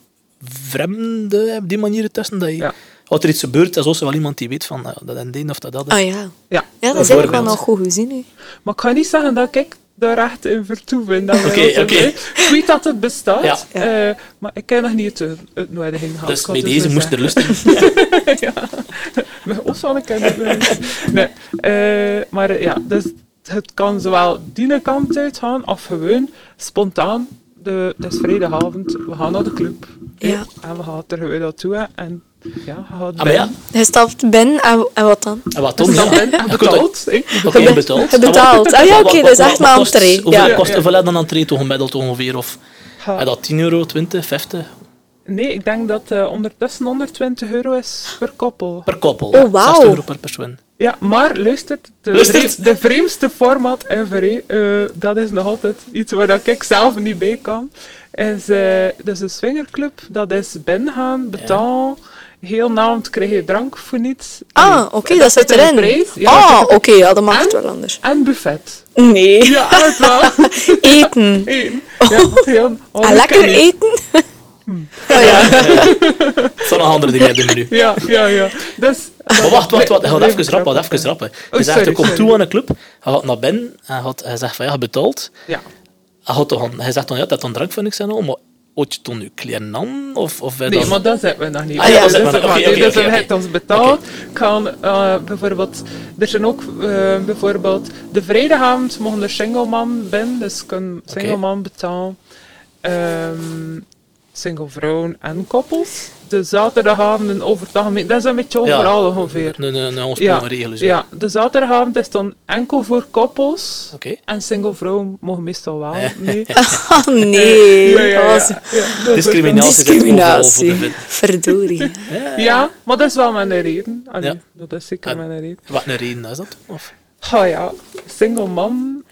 S1: vreemden op die manier tussen. Dat je,
S3: Ja.
S1: Als er iets gebeurt, dan is er wel iemand die weet van nou, dat en dit of dat dat. is.
S2: Ah ja.
S3: ja.
S2: Ja, dat is eigenlijk wel nog goed gezien. hè.
S3: Maar ik ga niet zeggen dat ik daar echt in vertoeven. Dat wij
S1: Oké,
S3: ons-
S1: oké.
S3: Ik weet dat het bestaat,
S1: Ja.
S3: eh, maar ik ken nog niet het uitnodiging gehad.
S2: Oh,
S1: Dus
S3: Ik had
S1: bij
S3: dus
S1: deze
S3: een
S1: moest er lusten.
S3: ja. Mijn os zal ik hebben. Nee. eh, maar eh, ja, dus het kan zowel die kant uit gaan of gewoon spontaan. De, het is vrijdagavond, we gaan naar de club. eh,
S2: Ja.
S3: En we gaan er gewoon naartoe. hè, En ja, we gaan Dus
S1: Ah, maar ja,
S2: Hij stapt binnen en, en wat dan?
S1: en wat dan?
S3: Dan
S1: Ja.
S3: ben je
S1: Je kunt ook-
S3: betaald. hè.
S1: Oké, je betaalt.
S2: Je betaalt. Ah ja, oké, dat is echt maar
S1: een
S2: entree.
S1: Hoeveel
S2: Ja.
S1: kost
S3: Ja.
S1: hoeveel had een entree toch gemiddeld ongeveer? Of,
S3: Ja.
S1: had Ah, dat 10 euro, 20, 50?
S3: Nee, ik denk dat eh ondertussen 120 euro is per koppel.
S1: Per koppel.
S2: Oh, wauw.
S1: 60 euro per persoon.
S3: Ja, maar luister, de,
S1: Luistert.
S3: vre- de vreemdste format ever, hé. Eh, dat is nog altijd iets waar dat ik zelf niet bij kan. Is, eh, dus een swingerclub, dat is binnengaan, betalen, heel naamd krijg je drank voor niets.
S2: Ah, oké, dat zit
S3: zit in de
S2: erin.
S3: prijs. Ja, dat
S2: Ah,
S3: zit
S2: oké, ja, dat mag
S3: En?
S2: het wel anders.
S3: En buffet.
S2: Nee,
S3: Ja, echt wel.
S2: eten.
S3: Eén. Ja, heel
S2: En Oh. Ah, lekker
S3: onbekend.
S2: eten?
S3: Hm.
S2: Oh ja,
S1: Dat zijn nog andere dingen in de menu.
S3: Ja, ja, ja. Dus,
S1: Maar wacht, wacht, wacht.
S3: Nee,
S1: Hij gaat
S3: nee,
S1: even rappen, hij gaat even rappen. Je zegt,
S3: Oh, sorry,
S1: je komt
S3: sorry.
S1: toe aan een club, hij gaat naar binnen, hij, gaat, hij zegt van ja, je betaalt.
S3: Ja.
S1: Hij, gaat toch aan- hij zegt dan ja, dat dan drank van niks en al, maar had je toen je kleren aan? Of, of wij
S3: Nee,
S1: dan-
S3: maar dat zijn we nog niet.
S1: Ah ja, dat
S3: dus
S1: zijn we nog-
S3: dat-
S1: oké, oké,
S3: dus
S1: oké,
S3: we
S1: oké.
S3: hebben ons betaald. Kan, eh, bijvoorbeeld, er zijn ook eh, bijvoorbeeld de vrijdagavond mogen er singleman binnen, dus kan singleman betalen. Ehm, single vrouwen en koppels. De zaterdagavonden over het algemeen, dat is een beetje
S1: Ja.
S3: overal ongeveer.
S1: Nee, nee, nee, ons ja. regelen zo.
S3: ja, de zaterdagavond is dan enkel voor koppels.
S1: Oké. Eh.
S3: En single vrouwen mogen meestal wel mee.
S2: Ah, nee.
S3: Nee, ja,
S2: dat
S3: ja,
S2: was
S3: ja, dat is-
S1: Discriminatie. zit overal
S2: discriminatie.
S1: voor de
S2: Verdorie.
S3: Ja, maar dat is wel mijn reden. Allee, Dat is zeker
S1: En-
S3: mijn reden.
S1: Wat een reden is dat? Of?
S3: Oh ja, single man.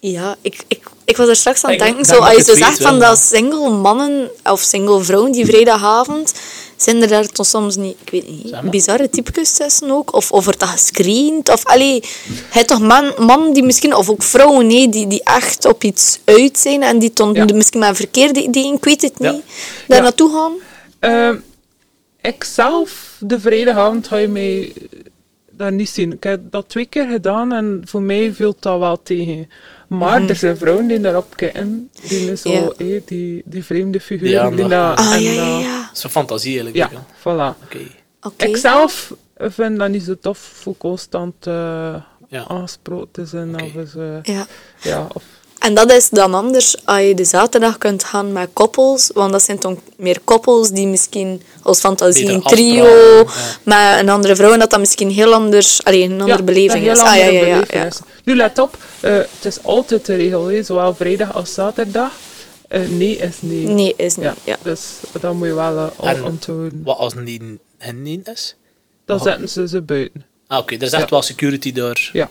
S2: Ja, ik, ik, ik was er straks aan het
S1: Ik
S2: denken,
S1: denk
S2: zo,
S1: dat
S2: als je
S1: ik het
S2: zo zegt
S1: weet
S2: van
S1: wel,
S2: dat single mannen of single vrouwen die vrijdagavond, zijn er daar toch soms niet, ik weet niet,
S1: Zeg maar.
S2: bizarre typekes tussen ook? Of, of wordt dat gescreend? Of, allee, hij toch man, man die misschien, of ook vrouwen, nee, die, die echt op iets uit zijn en die ton,
S3: Ja.
S2: de- misschien maar verkeerde ideeën, ik weet het
S1: Ja.
S2: niet, daar
S3: Ja.
S2: naartoe gaan?
S3: Ehm ik zelf, de vrijdagavond, ga je mij eh, daar niet zien. Ik heb dat twee keer gedaan en voor mij viel dat wel tegen. Maar
S1: Mhm.
S3: er zijn vrouwen die daarop kijken. Die, zo,
S2: Ja.
S3: hé, die, die vreemde figuren.
S1: Ja,
S3: die
S1: maar-
S3: dat-
S2: Ah,
S3: en
S2: ja, ja,
S1: eh,
S3: dat-
S2: ja.
S1: Zo'n fantasie eigenlijk.
S3: Ja,
S1: Ja.
S3: voilà.
S1: Oké.
S2: Oké.
S3: Ik zelf vind dat niet zo tof voor constant eh
S1: Ja.
S3: aangesproken te zijn.
S1: Oké.
S3: Of, eens, eh,
S2: Ja.
S3: ja, of
S2: En dat is dan anders als je de zaterdag kunt gaan met koppels. Want dat zijn toch meer koppels die misschien als fantasie
S1: Beter
S2: een trio
S1: afspraken,
S2: met een andere vrouw. En dat dat misschien heel anders, allee, een andere beleving
S3: een
S2: is.
S3: heel
S2: Ah, ja,
S3: andere
S2: ja, ja, ja.
S3: belevenis. Nu let op, eh, het is altijd de regel, hè, zowel vrijdag als zaterdag. Eh, nee is nee.
S2: Nee, is niet.
S3: Ja,
S2: Ja.
S3: Dus dat moet je wel eh,
S1: En-
S3: on- onthouden.
S1: Wat als het niet hen niet is?
S3: Dan zetten ze ze buiten.
S1: Ah, oké. Er is echt
S3: Ja.
S1: wel security door.
S3: Ja.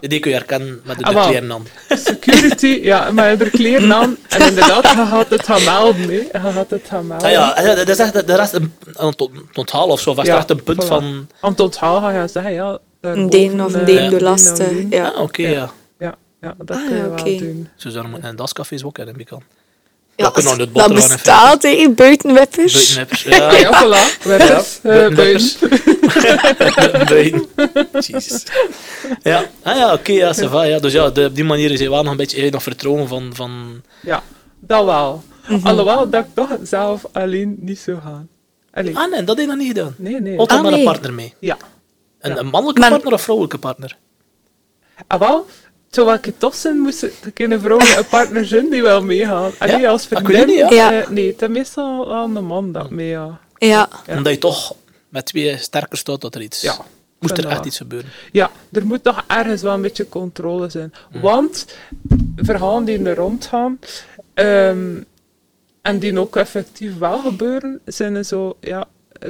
S1: Die kun je herkennen met de, de
S3: Ah, wel.
S1: kleren aan.
S3: Security, ja, maar er kleren aan. En inderdaad, je gaat het gaan melden. hè. Je gaat het gaan melden.
S1: Ah, ja, ja, dat is echt, dat is echt een, een tot- een onthaal of zo. Of is
S3: Ja,
S1: echt een punt
S3: voilà.
S1: van...
S3: Aan het onthaal ga je zeggen, ja.
S2: Een
S3: daarboven,
S2: deen of een
S3: eh,
S2: deen door
S3: deen of
S2: lasten.
S3: deen.
S2: Ja.
S1: Ah, oké, ja.
S3: Ja. Ja, ja, dat
S2: Ah,
S3: kun je
S2: ja,
S3: wel
S2: oké.
S3: doen.
S1: Zo zouden we in een dascafés ook hebben, kan.
S2: Ja,
S1: kunnen aan het bot
S2: dat
S1: eraan en
S2: bestaat, hè, buitenwippers.
S1: Buitenwippers. Ja,
S3: Ah, ja, voilà. Weppers, eh,
S1: buiten-
S3: buiten.
S1: Buiten. Jezus. Ja, ah, ja oké, ja, ça va, ja. Dus ja, de- op die manier is je wel nog een beetje eh, nog vertrouwen van... van
S3: Ja, dat wel. Alhoewel dat ik toch zelf alleen niet zou gaan. Allee,
S1: Ah nee, dat heb je nog niet gedaan.
S3: nee, nee.
S1: Altijd
S2: Ah,
S1: maar
S2: nee.
S1: een partner mee.
S3: Ja.
S1: Een,
S3: Ja.
S1: een mannelijke
S2: Maar-
S1: partner of vrouwelijke partner?
S3: Ah, wel, terwijl ik het tof zijn, moest ik kunnen vrouwen een partner zijn die wel meegaan. Allee,
S1: Ja?
S3: als
S1: Ah, ik
S3: vriendin.
S1: weet het
S2: niet, ja.
S3: eh, nee, het is meestal wel een man dat meegaat.
S2: Ja.
S1: Omdat je toch met twee sterker staat dat er iets...
S3: Ja.
S1: Moest er
S3: Inderdaad.
S1: echt iets gebeuren.
S3: Ja, er moet toch ergens wel een beetje controle zijn. Want verhalen die er rondgaan, ehm, en die ook effectief wel gebeuren, zijn er zo, ja,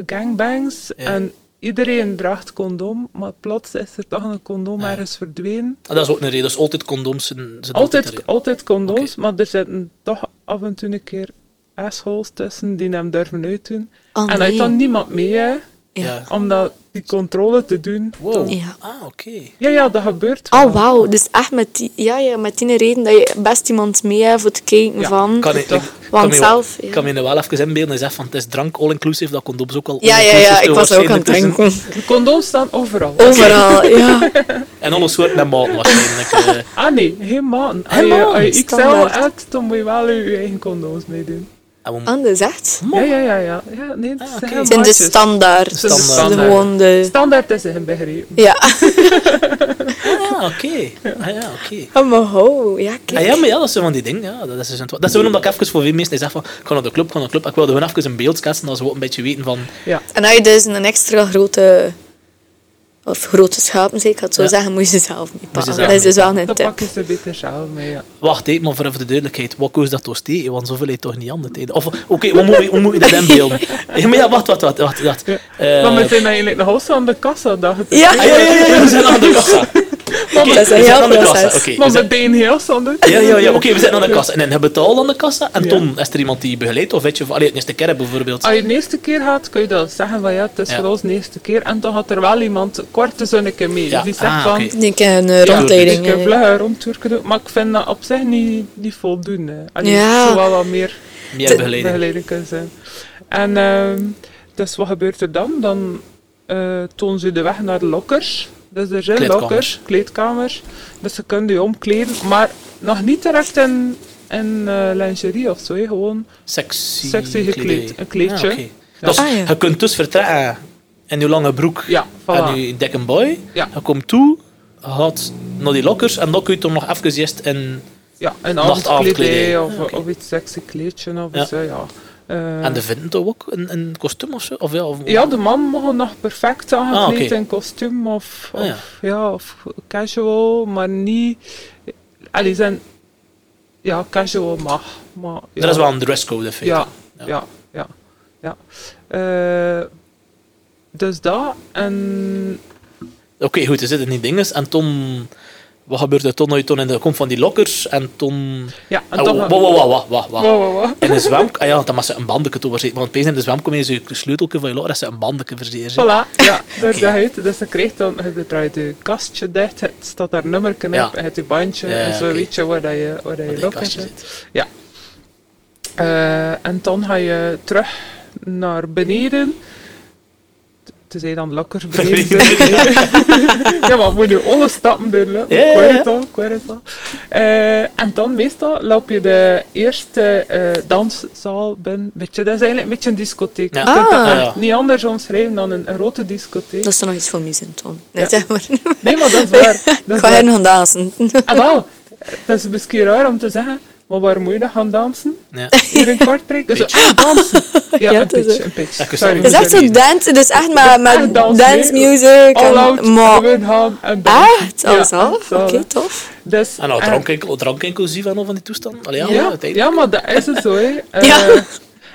S3: gangbangs.
S1: Ja.
S3: En iedereen draagt condoom, maar plots is er toch een condoom ergens verdwenen.
S1: Ah, dat is ook een reden. Dus altijd condooms zijn, zijn een
S3: Altijd,
S1: reden.
S3: altijd condooms, maar er zitten toch af en toe een keer assholes tussen die hem durven uitdoen.
S2: Oh,
S3: en hij
S2: nee.
S3: heeft dan niemand mee, hè,
S1: Ja.
S3: om dat, die controle te doen.
S1: Wow.
S2: Ja.
S1: Ah, oké.
S3: Ja, ja, dat gebeurt wel.
S2: Oh, wauw. Dus echt met die, ja, ja, met die reden dat je best iemand mee hebt voor het kijken
S3: Ja,
S2: van...
S1: Kan ik,
S3: Toch.
S2: Want
S1: me wel-
S2: zelf...
S1: Ik
S2: ja.
S1: kan me nu wel even inbeelden en zeggen van het is drank all-inclusive, dat condooms ook al
S2: Ja, ja,
S1: all-inclusive
S2: ja, ik
S1: te
S2: was
S1: zijn dus
S2: ook aan het
S1: intussen.
S2: denken.
S3: Condooms staan overal.
S2: Oh. Overal, ja.
S1: En alle soorten en maten waarschijnlijk. eh.
S3: Ah nee, geen maten. Als
S2: Geen
S3: je,
S2: maten,
S3: als je XL
S2: standaard.
S3: hebt, dan moet je wel je, je eigen condooms meedoen.
S1: En we-
S2: Anders Ah, echt.
S1: Mo-
S3: Ja, ja, ja, ja. ja nee, het
S1: Ah,
S3: zijn
S1: oké.
S3: geen
S2: Het zijn de
S3: maatjes.
S2: standaard.
S1: zijn de
S2: de
S1: standaard.
S2: gewoon de...
S3: Standaard is een begrepen.
S2: Ja.
S1: Ah, oké. Ah, ja, oké.
S2: Oh, maar ho. Ja, kijk.
S1: Ah, ja, maar ja, dat zijn van die dingen. Ja. Dat is dus een twa- dat is gewoon omdat ik even voor veel mensen zeg van, ik ga naar de club, ik ga naar de club. Ik wilde gewoon even een beeld schetsen, dat ze ook een beetje weten van...
S3: Ja.
S2: En als je dus een extra grote... Of grote schapen, zeg ik had zo
S1: Ja.
S2: zeggen, moet je ze zelf mee pakken.
S1: zelf
S2: Dat is dus
S1: mee
S2: wel een
S3: Dan pak
S2: tip.
S3: je ze beter zelf mee, ja.
S1: Wacht, hé, maar voor even de duidelijkheid, wat koos dat toch steken? Want zoveel heeft toch niet aan de tijden. Of, oké, hoe, moet je- hoe moet je dat inbeelden? Ja, maar ja, wacht, wacht, wacht. wacht, wacht.
S3: Ja.
S1: Eh,
S3: Maar we zijn eigenlijk nog altijd aan de kassa, dacht ik.
S2: Ja,
S1: ah, ja, ja, ja, ja, we zijn aan de kassa. Oké,
S2: dat is een
S1: we zijn
S2: heel
S1: aan de
S2: proces.
S1: kassa. Oké, we
S3: Maar
S1: zijn-
S3: met BNH standaard.
S1: Ja, ja, ja. Oké, we zijn aan de kassa. En dan hebben we het al aan de kassa. En
S3: Ja. Ah,
S1: Tom, is er iemand die je begeleidt? Of weet je, van, allee, het is de kerk bijvoorbeeld.
S3: Als je de eerste keer gaat, kun je dat zeggen van ja, het is
S1: Ja.
S3: voor ons de eerste keer. En dan gaat er wel iemand kort een zonnetje mee. Dus
S1: Ja,
S3: Die zegt
S1: ah,
S3: van,
S1: oké.
S2: Ik denk een eh,
S1: Ja,
S2: rondleiding.
S3: dus Ik heb
S2: eh.
S3: vlugger rondtoerken doen, maar ik vind dat op zich niet, niet voldoende. Allee,
S2: Ja.
S3: zo wel wat meer
S1: Meer
S2: de-
S1: begeleiding.
S3: begeleiding kunnen zijn. En ehm, dus wat gebeurt er dan? Dan eh tonen ze de weg naar de lokkers. Dus er zijn
S1: Kleedkamers.
S3: lokkers, kleedkamers. Dus ze kunnen je omkleden, maar nog niet direct in, in eh, lingerie of zo. hè. Gewoon
S1: Sexy,
S3: Sexy gekleed.
S1: kledij.
S3: Een kleedje.
S1: Ah, oké. Dus
S2: Ah, ja.
S1: je kunt dus vertrekken in je lange broek
S3: Ja, voilà.
S1: en je dikke boy.
S3: Ja.
S1: Je komt toe, je gaat naar die lokkers en dan kun je toch nog even eerst in...
S3: Ja, een
S1: Nachtavondkledij.
S3: avondkledij of,
S1: Ah, oké.
S3: of iets sexy kleedje of
S1: Ja.
S3: zo, ja. Eh,
S1: En de vinden toch ook een, een kostuum of zo? Of ja, of,
S3: ja, de man mag nog perfect aangekleed
S1: Ah, oké.
S3: in kostuum of,
S1: Ah, ja.
S3: of, ja, of casual, maar niet... Allee, zijn... Ja, casual mag, maar... Ja,
S1: Er is wel een dresscode, vind
S3: Ja,
S1: Ja.
S3: ja, ja, ja. Eh, dus dat, en...
S1: Oké, goed, er zitten die dingen. En Tom... Wat gebeurt er toen? Nou, Toen in de, komt van die lokkers en Tom...
S3: Ja, en
S1: Ah,
S3: dan...
S1: wa- wa- wa- wa- wa- wa- wa.
S3: Wow, wow, wow.
S1: In een zwem... Ah ja, dan moet ze een bandje toe verzekeren. Want opeens in de zwemkom is je sleutelje van je lokker, dat ze een bandje verzekeren.
S3: Voilà, ja, daar okay. Dus je krijgt dan, je draait je kastje dicht, het staat daar nummer op,
S1: Ja.
S3: het je bandje,
S1: Ja,
S3: en zo
S1: oké.
S3: weet je waar dat je, waar dat
S1: in
S3: je
S1: je
S3: lokken
S1: kastje
S3: zit. Ja. Eh, en dan ga je terug naar beneden. T- Tenzij dan lokkers beneden zijn. ja, maar moet je alle stappen doen, hè.
S1: Ja, ja, ja.
S3: Quartal, quartal. Eh, en dan meestal loop je de eerste eh, danszaal binnen. Beetje, dat is eigenlijk een beetje een discotheek.
S1: Ja.
S3: Je kunt dat
S1: Ah.
S3: echt niet anders omschrijven dan een, een grote discotheek.
S2: Dat is dan nog iets voor mij zijn, Tom. Nee, zeg maar.
S3: Nee, maar dat is waar. Dat
S2: Ik
S3: is
S2: ga
S3: waar.
S2: hier nog dansen.
S3: Ah, wel. Dat is misschien raar om te zeggen, maar waar moet je dan gaan dansen?
S1: Ja.
S3: Hier in Kortrijk? Dus,
S1: Beetje.
S3: ah, dansen!
S2: Ja,
S3: Ja, een
S2: het is
S3: pitch,
S2: een-
S3: een pitch.
S1: Ja, ik
S3: Sorry.
S1: snap
S2: Het is echt zo
S1: Sorry.
S2: dance, dus echt maar
S3: Echt
S2: met
S3: dance,
S2: dance
S3: nee.
S2: music.
S3: All out,
S2: En, maar,
S3: gewoon gaan en dansen.
S2: echt? Alles
S3: Ja,
S2: al?
S3: alles
S2: Oké,
S3: al, hè.
S2: tof.
S3: Dus,
S2: Ah,
S1: En nou,
S3: eh,
S1: drank enkel, drank enkel zie van al van die toestand. Allee, ja, ja,
S3: ja,
S1: uiteindelijk.
S3: ja, maar dat is het zo, hè. Eh,
S2: Ja.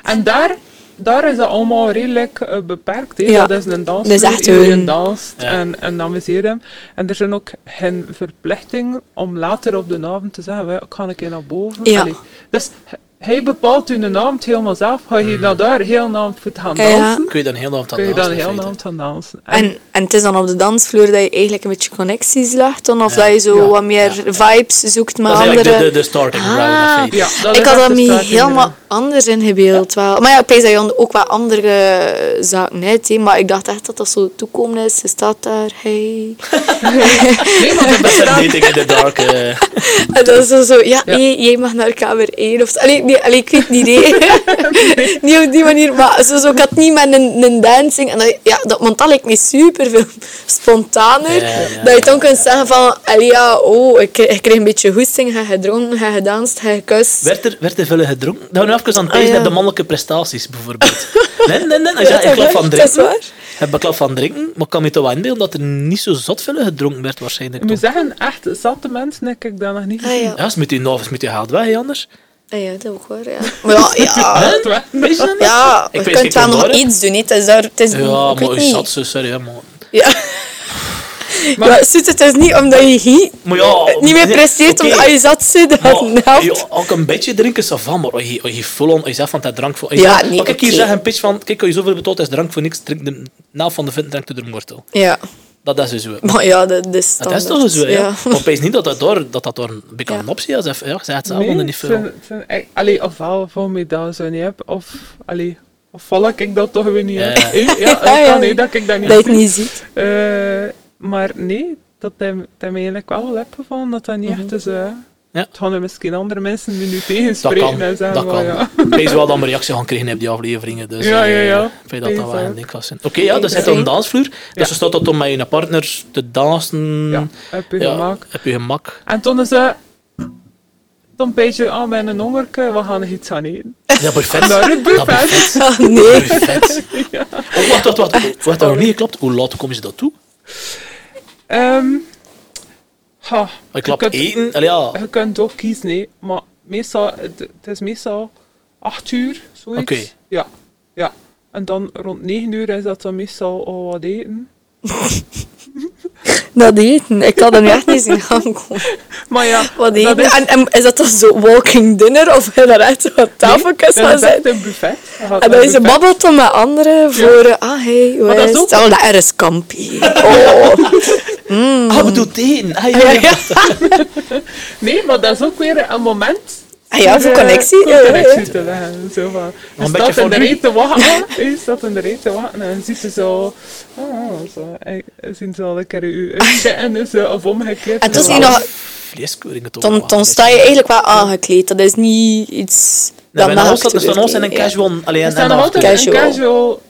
S3: En daar, daar is dat allemaal redelijk eh, beperkt, hè.
S2: Ja.
S3: Dat is een dans,
S2: Dat is echt
S3: iedereen
S2: hun-
S3: danst
S1: Ja.
S3: en, en amuseert hem. En er zijn ook geen verplichtingen om later op de avond te zeggen, "Wel, ik ga een keer naar boven.
S2: Ja.
S3: Allee, Dus h- hij bepaalt hun avond helemaal zelf. Ga
S1: Mhm.
S3: je naar daar heel avond voor gaan
S2: Ja, ja.
S3: dansen,
S1: Kun je dan heel de avond aan
S3: kun je dan
S1: dansen, in
S3: heel
S1: feite.
S3: avond gaan dansen.
S2: En, en het is dan op de dansvloer dat je eigenlijk een beetje connecties legt, dan, of
S1: Ja.
S2: dat je zo
S3: Ja.
S2: wat meer vibes zoekt met
S1: Dat is eigenlijk
S2: anderen.
S1: de, de, de starting ground. in
S2: Ah.
S1: feite.
S3: ja, dat
S2: ik
S3: is
S2: had
S3: echt
S2: dat
S3: de
S2: me
S3: start,
S2: helemaal
S3: inderdaad.
S2: anders in gebeeld. Wel. Maar ja, ik pees dat je ook wel andere zaken uit. hè. Maar ik dacht echt dat dat zo toekomst is. Je staat daar, hey.
S3: Nee, maar
S1: Dat
S3: dat
S1: is een
S3: bestaat.
S1: dating in the dark. eh.
S2: En Ah, dat is dan zo, ja,
S3: Ja.
S2: hey, jij mag naar kamer 1 of zo. Allee, nee, allee, ik weet niet, hè. Niet op die manier. Maar zo, zo, ik had niet met een, een dancing. En dat, ja, dat, want dat lijkt me super veel spontaner.
S1: Ja, ja,
S2: dat je dan kunt zeggen van, allee, ja, oh, ik, ik kreeg een beetje goesting. Ga gedronken, ga gedanst, ga gekust.
S1: werd, er, werd er veel gedronken? Dat we nu even aan het
S2: Ah,
S1: ah,
S2: ja.
S1: de mannelijke prestaties, bijvoorbeeld. nee, nee, nee. Als
S2: Ja,
S1: je
S2: dat
S1: een klap
S2: is
S1: van
S2: waar,
S1: drinken...
S2: dat is waar.
S1: Heb ik klap van drinken, maar ik kan me toch wel inbeelden dat er niet zo zot veel gedronken werd, waarschijnlijk.
S3: Ik moet
S1: toch?
S3: zeggen, echt zatte mensen heb ik dat nog niet
S2: Ah,
S3: gezien.
S2: ja.
S1: Ja, is met die novens, met die haalt weg, hè, anders.
S2: Ah, ja, dat ook hoor, ja. Maar ja, ja.
S3: Echt waar?
S1: Weet je dat niet?
S2: Ah. Ja,
S1: Ik
S2: je
S1: weet
S2: kunt
S1: geen
S2: wel nog
S1: condoren.
S2: iets doen. hè. Het is, daar, het is
S1: Ja,
S2: ik weet
S1: maar is
S2: niet.
S1: zat zo, sorry, hè, maar...
S2: Ja.
S3: Maar-
S2: Maar, zoet, het is niet omdat je hi-
S1: Maar ja,
S2: Eh, niet meer
S1: nee,
S2: presteert
S1: Oh, oké.
S2: omdat je zat zit. Dat
S1: Maar,
S2: helpt.
S1: ja, ook een beetje drinken, ça va, maar als je, als je full on, als je zegt van dat drank voor... als je
S2: Ja,
S1: zegt-
S2: nee,
S1: maar kijk, hier
S2: oké.
S1: zeg een pitch van, kijk, als je zoveel betaalt, is drank voor niks, drink de naaf van de vent, drank de drumwortel.
S2: Ja.
S1: Dat is dus zo.
S2: Maar ja, dat, dat is
S1: Ah, Dat is toch
S2: standaard,
S1: zo, hè?
S2: ja.
S1: Maar opeens niet dat dat door, dat dat door een beetje
S2: Ja.
S1: een optie is. Of, ja, ik zei het zelf
S3: Nee,
S1: onder die
S3: het
S1: film.
S3: zijn- het zijn echt- allee, ofwel val me dat zo niet heb, of allee, of val ik dat toch weer niet heb.
S1: Ja.
S3: Eh, Ja, het
S2: Ja, ja.
S3: kan niet dat ik dat niet
S2: Dat je het
S3: zie.
S2: niet ziet.
S3: Eh, maar nee, dat hij, dat hij mij eigenlijk wel al hebt gevallen, dat dat niet echt is. eh.
S1: Mhm. Ja.
S3: Het gaan er misschien andere mensen die nu
S1: Dat
S3: tegenspreken
S1: kan.
S3: en zeggen
S1: Dat
S3: van,
S1: kan.
S3: ja.
S1: Ik Wees wel dat we reactie gaan krijgen op die afleveringen. Dus,
S3: Ja,
S1: eh,
S3: ja, ja.
S1: Ik weet dat dat wel
S3: Exact.
S1: een ding kan zijn. Oké, ja, dat zit
S2: Oké.
S1: op een dansvloer.
S3: Ja.
S1: Dus je staat dat om met je partner te dansen.
S3: ja, heb je
S1: Ja,
S3: gemaakt.
S1: Op je gemak.
S3: En toen is ze een beetje aan mijn hongerke, we gaan er iets aan eten.
S1: Ja, perfect.
S3: Naar het
S1: Dat
S3: buffet.
S2: Ah, nee.
S1: Perfect. Oh, wacht, wacht, wacht. Wat nog niet geklopt. Hoe laat komen ze dat toe?
S3: Ehm, ha,
S1: Ik klap
S3: je kunt-
S1: eten. Allee, ja.
S3: Je kunt ook kiezen, nee. Maar meestal, het, het is meestal 8 uur, zoiets.
S1: Oké.
S3: Ja, ja. En dan rond 9 uur is dat dan meestal al wat eten.
S2: Dat eten. Ik had hem echt niet zien aankomen.
S3: Maar ja,
S2: Wat
S3: dat
S2: eten. Ah,
S3: is,
S2: En, en is dat dan zo walking dinner? Of heb je daar echt zo wat tafeltjes
S3: dat
S2: gaan
S3: is echt
S2: zitten?
S3: een buffet. Je gaat
S2: En
S3: naar
S2: dan Ah, is ze
S3: een buffet.
S2: babbelt dan met anderen voor... eh, Ah, hey, hoe
S3: Maar dat
S2: is
S3: is
S2: het?
S3: ook-
S2: Oh, dat is kampie. Oh.
S1: Ah, we doen eten. Ah, ja,
S2: Mm. Ja,
S1: ja.
S2: ja.
S3: Nee, maar dat is ook weer een moment.
S2: Ah ja, voor connectie.
S3: Voor
S2: Ja, ja,
S3: connectie te leggen. Zo van. Je
S1: een
S3: staat
S1: beetje
S3: in de
S1: voor u.
S3: rij te wachten. Je staat in de rij te wachten en ziet ze zo. Oh, zo. En zien ze al een keer u uitzetten en zo, of omgekeerd.
S2: Ah. En toen
S3: Zo.
S2: zie je nog...
S1: Vleeskeuringen toch
S2: Dan,
S1: wel,
S2: dan
S1: hè.
S2: sta je eigenlijk wel aangekleed. Dat is niet iets...
S1: Nee, bij
S2: naakt
S1: ons staat dus
S2: wordt,
S1: van ons in een
S2: ja.
S1: casual. Allee,
S3: Er
S1: en
S3: staan
S1: en
S3: nog altijd
S2: Casual.
S3: een casual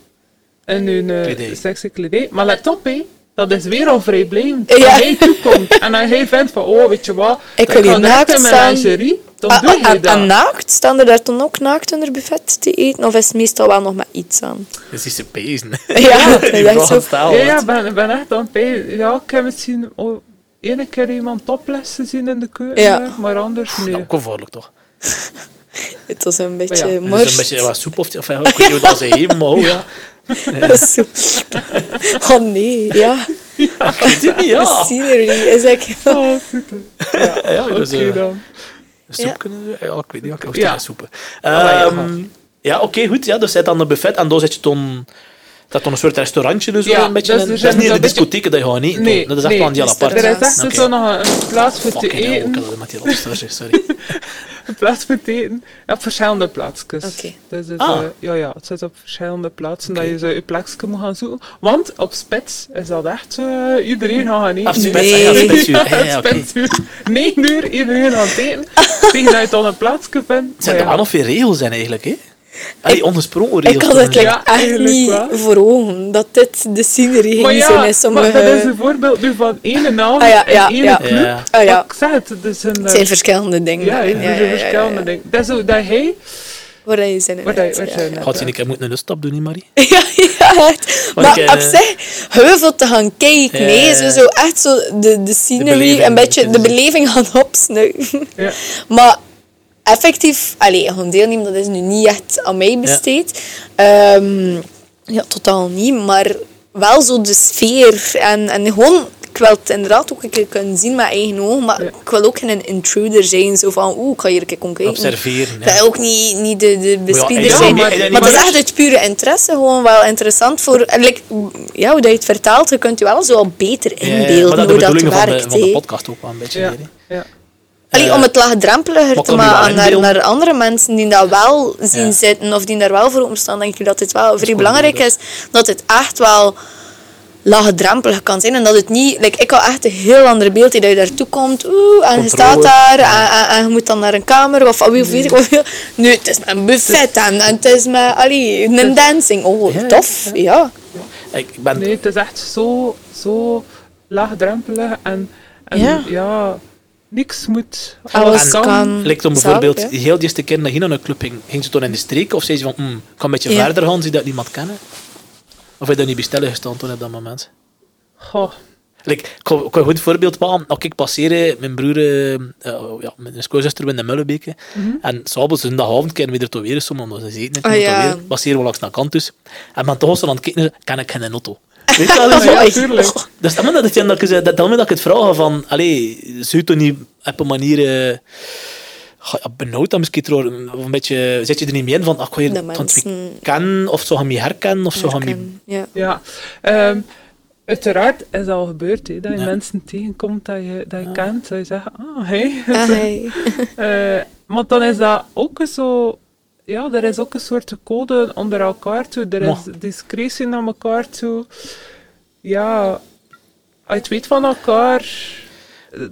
S3: en een
S1: Kledij.
S3: eh sexy kledij. Maar let op, hé. Dat is weer al vrij bleem.
S2: Ja.
S3: Als hij toekomt en als hij vindt van, oh, weet je wat,
S2: Ik wil hier
S3: ga direct
S2: naakt
S3: in mijn
S2: staan.
S3: lingerie, dan
S2: Ah,
S3: doe
S2: ah,
S3: je
S2: en, en
S3: dat.
S2: naakt? Staan er daar dan ook naakt onder buffet te eten? Of is het meestal wel nog met iets aan?
S1: Dus is ze pezen.
S2: Ja, dat
S1: Die
S2: is echt
S1: vrouw
S2: zo.
S1: gaat staan.
S3: Ja, ja, ik ben, ben echt aan het pijn. Ja, ik heb misschien al één keer iemand topless zien in de keuken,
S2: Ja.
S3: maar anders nee.
S1: Nou, gevaarlijk toch?
S2: Het was een beetje
S3: Maar
S2: ja,
S3: Oh ja, het
S1: Het is een beetje wat soep of... of ja, ik weet niet hoe dat ze geven, maar oh, ja.
S2: Oh nee, ja.
S1: Ik weet het niet, ja.
S2: Scenery is echt...
S3: Oh, super.
S1: Ja, ja, dus,
S3: Oké
S1: eh,
S3: dan.
S1: soep
S2: Ja.
S1: kunnen ze- Ja, ik weet niet, ik hoef
S3: Ja.
S1: ja. soepen.
S3: ja,
S1: Ehm, ja, oké, goed. Ja, dus zit aan een buffet en daar zit je dan... Dat dan een soort restaurantje dus
S3: Ja,
S1: wel een beetje.
S3: dus
S1: in.
S3: er
S1: dat
S3: zijn
S1: is niet in de
S3: zo'n beetje-
S1: discotheek dat je gaat eten.
S3: Nee,
S1: dat is echt
S3: nee,
S1: wel een heel
S2: dus er
S1: apart.
S3: Er is echt
S1: Oké.
S3: zo nog een, een plaats voor te
S1: Fucking hell,
S3: eten.
S1: ook al met die lobsters, sorry.
S3: Op plaats voor het eten. Op verschillende plaatsjes.
S2: Oké.
S3: Dus het,
S1: Ah.
S3: eh, ja, ja, het zit op verschillende plaatsen dat je zo je plekje moet gaan zoeken. Want op spits is dat echt eh, iedereen gaan gaan eten.
S1: Af spits,
S2: Nee.
S1: ah, ja, spitsuur.
S3: Ja,
S1: Ja, ja,
S3: op
S1: oké. Het
S3: spitsuur. Negen uur, iedereen aan het eten. Tegen dat je dan een plaatsje vindt.
S1: zijn
S3: Maar
S1: er wel
S3: ja,
S1: nog veel regels zijn eigenlijk, hè? Allee, ongesproken regels.
S2: Ik had het
S1: toch, hè?
S2: like,
S3: Ja,
S2: echt
S3: eigenlijk
S2: niet
S3: wel.
S2: voor ogen dat dit de scenery ging
S3: maar ja,
S2: zijn in sommige...
S3: maar dat is een voorbeeld nu van één naam
S2: Ah, ja, ja,
S3: en één
S2: ja.
S3: club.
S1: Ja.
S2: Ah, ja.
S3: Maar Ik zeg het, het is een... eh,
S2: het zijn verschillende dingen.
S3: ja, het is een
S2: ja,
S3: verschillende ding. Dat is zo dat hij...
S2: Waar dat je zin in
S3: Waar dat je-
S2: hebt,
S3: waar
S2: ja,
S3: dat je-
S2: ja.
S1: Had je niet een moeten een luststap doen, hè, Marie?
S2: Ja, ja, echt.
S1: Maar
S2: Maar
S1: ik, eh,
S2: op zich, heuvel te gaan kijken,
S1: Ja,
S2: nee.
S1: ja,
S2: Zo,
S1: ja.
S2: zo echt zo de, de scenery,
S1: beleving
S2: een beetje de
S1: kunnen zien.
S2: beleving gaan opsnuiven.
S3: Ja.
S2: Maar effectief, allee, gewoon deelnemen, dat is nu niet echt aan mij besteed. Ja, ja totaal niet, maar wel zo de sfeer. En, en gewoon, ik wil het inderdaad ook een keer kunnen zien met eigen ogen, maar
S3: Ja.
S2: ik wil ook geen intruder zijn, zo van, oeh, ik ga hier een keer komen kijken.
S1: Observeren,
S2: Ik wil
S1: ja.
S2: ook niet, niet de, de bespieder
S1: eigenlijk
S2: zijn.
S3: niet,
S2: Maar,
S3: eigenlijk
S2: maar dat is
S3: niet.
S2: echt uit pure interesse gewoon wel interessant voor... en Like, ja, hoe dat je het vertaalt, je kunt je wel zo wat beter
S1: Ja, ja,
S2: inbeelden
S1: maar dat de
S2: hoe dat
S1: bedoeling van de,
S2: werkt.
S1: van de
S2: hè.
S1: podcast ook wel een beetje.
S3: Ja,
S1: hier, hè.
S3: ja.
S2: Allee, om het
S1: maar
S2: laagdrempeliger te
S1: kan je wel
S2: maken naar,
S1: inbeelden?
S2: naar andere mensen die dat wel zien
S1: Ja.
S2: zitten of die daar wel voor openstaan, denk ik dat het wel vrij
S1: goed
S2: belangrijk is dat het echt wel laagdrempelig kan zijn en dat het niet... Like, ik had echt een heel ander beeld in dat je daartoe komt oeh, en je
S1: Controle.
S2: staat daar en, en, en je moet dan naar een kamer of, of weet ik wat veel. Nee, het is met een buffet en, en het is met allee, een dancing. Oh,
S1: Ja, ja,
S2: tof. Ja.
S1: Ik ben
S3: Nee, het is echt zo, zo laagdrempelig en, en
S2: Ja.
S3: ja. niks moet.
S2: Alles
S1: En-
S2: kan.
S1: Lijkt om
S2: Zalig,
S1: bijvoorbeeld,
S2: hè?
S1: heel de eerste keer dat je naar een club ging, ging ze toen in de streek? Of zei ze van, "Hmm, ik kan een beetje
S2: Ja.
S1: verder gaan, zie dat niemand kennen? Of heb je dat niet bestellen gestaan toen op dat moment?
S3: Goh,
S1: Like, ik kan ik kan een goed voorbeeld pakken. Als ik passeerde, mijn broer, eh, eh, ja, mijn schoonzuster in de Mullenbeke. En s'avonds, dus een dagavond, kennen we er toch weer eens om, omdat ze eten.
S2: Mhm. Ah,
S1: Oh,
S2: ja.
S1: ja. Passeren we langs naar kant dus. En men toch als ze aan het kijken, is, ken ik geen auto. Weet je wel?
S2: Oh,
S1: Dus,
S3: ja,
S2: ja.
S3: tuurlijk.
S1: dus dat moment dat ik, het- dat ik, ze- dat, dat moment dat ik het vraag van, allee, zou je toch niet op een manier... eh, goh, ja, benauwd dan misschien trouwens, of een beetje, zet je er niet meer in van, ach, ga je
S2: De
S1: van het
S2: mensen-
S1: weekend, of zo gaan je herkennen, of zo gaan je...
S2: Ja.
S3: ja. Ehm, Uiteraard is dat al gebeurd, hè, dat je
S1: Ja.
S3: mensen tegenkomt dat je, dat je kent. Dat je zegt, ah, hey.
S2: Ah, hey.
S3: Eh, want dan is dat ook een zo... Ja, er is ook een soort code onder elkaar toe. Er is
S1: Mocht.
S3: discretie naar elkaar toe. Ja, als je het weet van elkaar...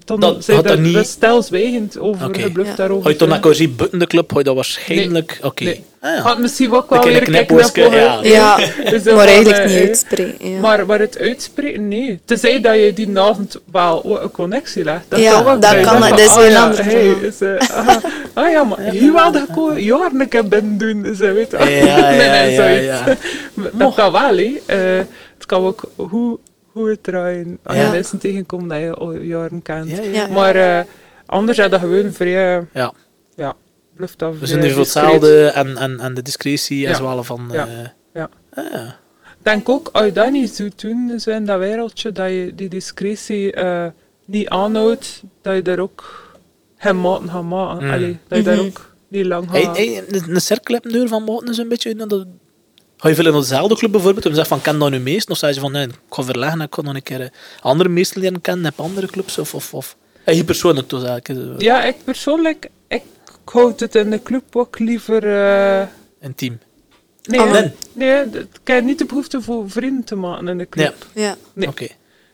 S3: Dan
S1: Dat
S3: zijn
S1: had
S3: er
S1: er niet-
S3: niet... stelzwijgend over
S1: Oké.
S3: gebluft
S2: Ja.
S3: daarover.
S1: Als je dan
S3: hè.
S1: naar Corsi buiten de club, ga je dat waarschijnlijk... Oké.
S3: Nee.
S1: Ah, ja.
S3: Had misschien
S1: Dan
S3: ook wel
S1: ken
S3: weer
S1: ik
S3: een
S1: knipwoordje,
S3: knipoog, hè.
S1: ja.
S2: Ja,
S3: Dus
S2: maar
S3: dat wel,
S2: eigenlijk
S3: eh,
S2: niet
S3: eh,
S2: uitspreken. Ja,
S3: Maar waar het uitspreken, nee. Tenzij dat je die avond wel o- een connectie legt. Dat
S2: Ja,
S3: kan wel
S2: dat
S3: zijn.
S2: kan,
S3: van,
S2: dat is
S3: ah
S2: weer een
S3: ja,
S2: ander
S3: hey,
S2: verhaal.
S3: is, eh, ah, ah ja, maar je wilde gewoon jaren een keer binnen doen. Ze weet
S1: Ja, ja,
S3: nee, nee,
S1: ja,
S3: zoiets.
S1: ja.
S3: Dat kan wel, hè. Eh, het kan ook hoe, hoe het draaien. Als je
S1: Ja.
S3: mensen tegenkomt dat je al jaren kent.
S1: Ja, ja.
S2: Ja.
S3: Maar eh, anders is dat gewoon vrij... eh,
S1: Ja.
S3: Ja, eh, bluft af.
S1: We zijn dus voor
S3: hetzelfde.
S1: hetzelfde en, en, en de discretie en
S3: Ja.
S1: zwalen van...
S3: Ja.
S1: eh,
S3: Ja.
S1: ah, ja.
S3: denk ook, als je dat niet doet doen, zo in dat wereldje, dat je die discretie eh, niet aanhoudt, dat je daar ook geen maten gaat maken.
S1: Mm.
S3: Allee, dat je daar
S2: Mhm.
S3: ook niet lang
S1: Hey,
S3: gaat...
S1: hey, een een cirkelhebneur van Mouten is een beetje... in Dat, ga je veel in dezelfde club bijvoorbeeld? En zeg van, ken dat nu meest? Of zei je van, nee, ik ga verleggen en ik ga nog een keer eh, andere meesten leren kennen op andere clubs? Of... of, of. Hey, je persoonlijk dus eigenlijk. eh,
S3: Ja, ik persoonlijk, ik houd het in de club ook liever... eh,
S1: Intiem.
S3: nee,
S2: Ah.
S3: nee. nee, dat- ik heb niet de behoefte voor vrienden te maken in de club.
S2: ja.
S3: Nee.
S1: Oké.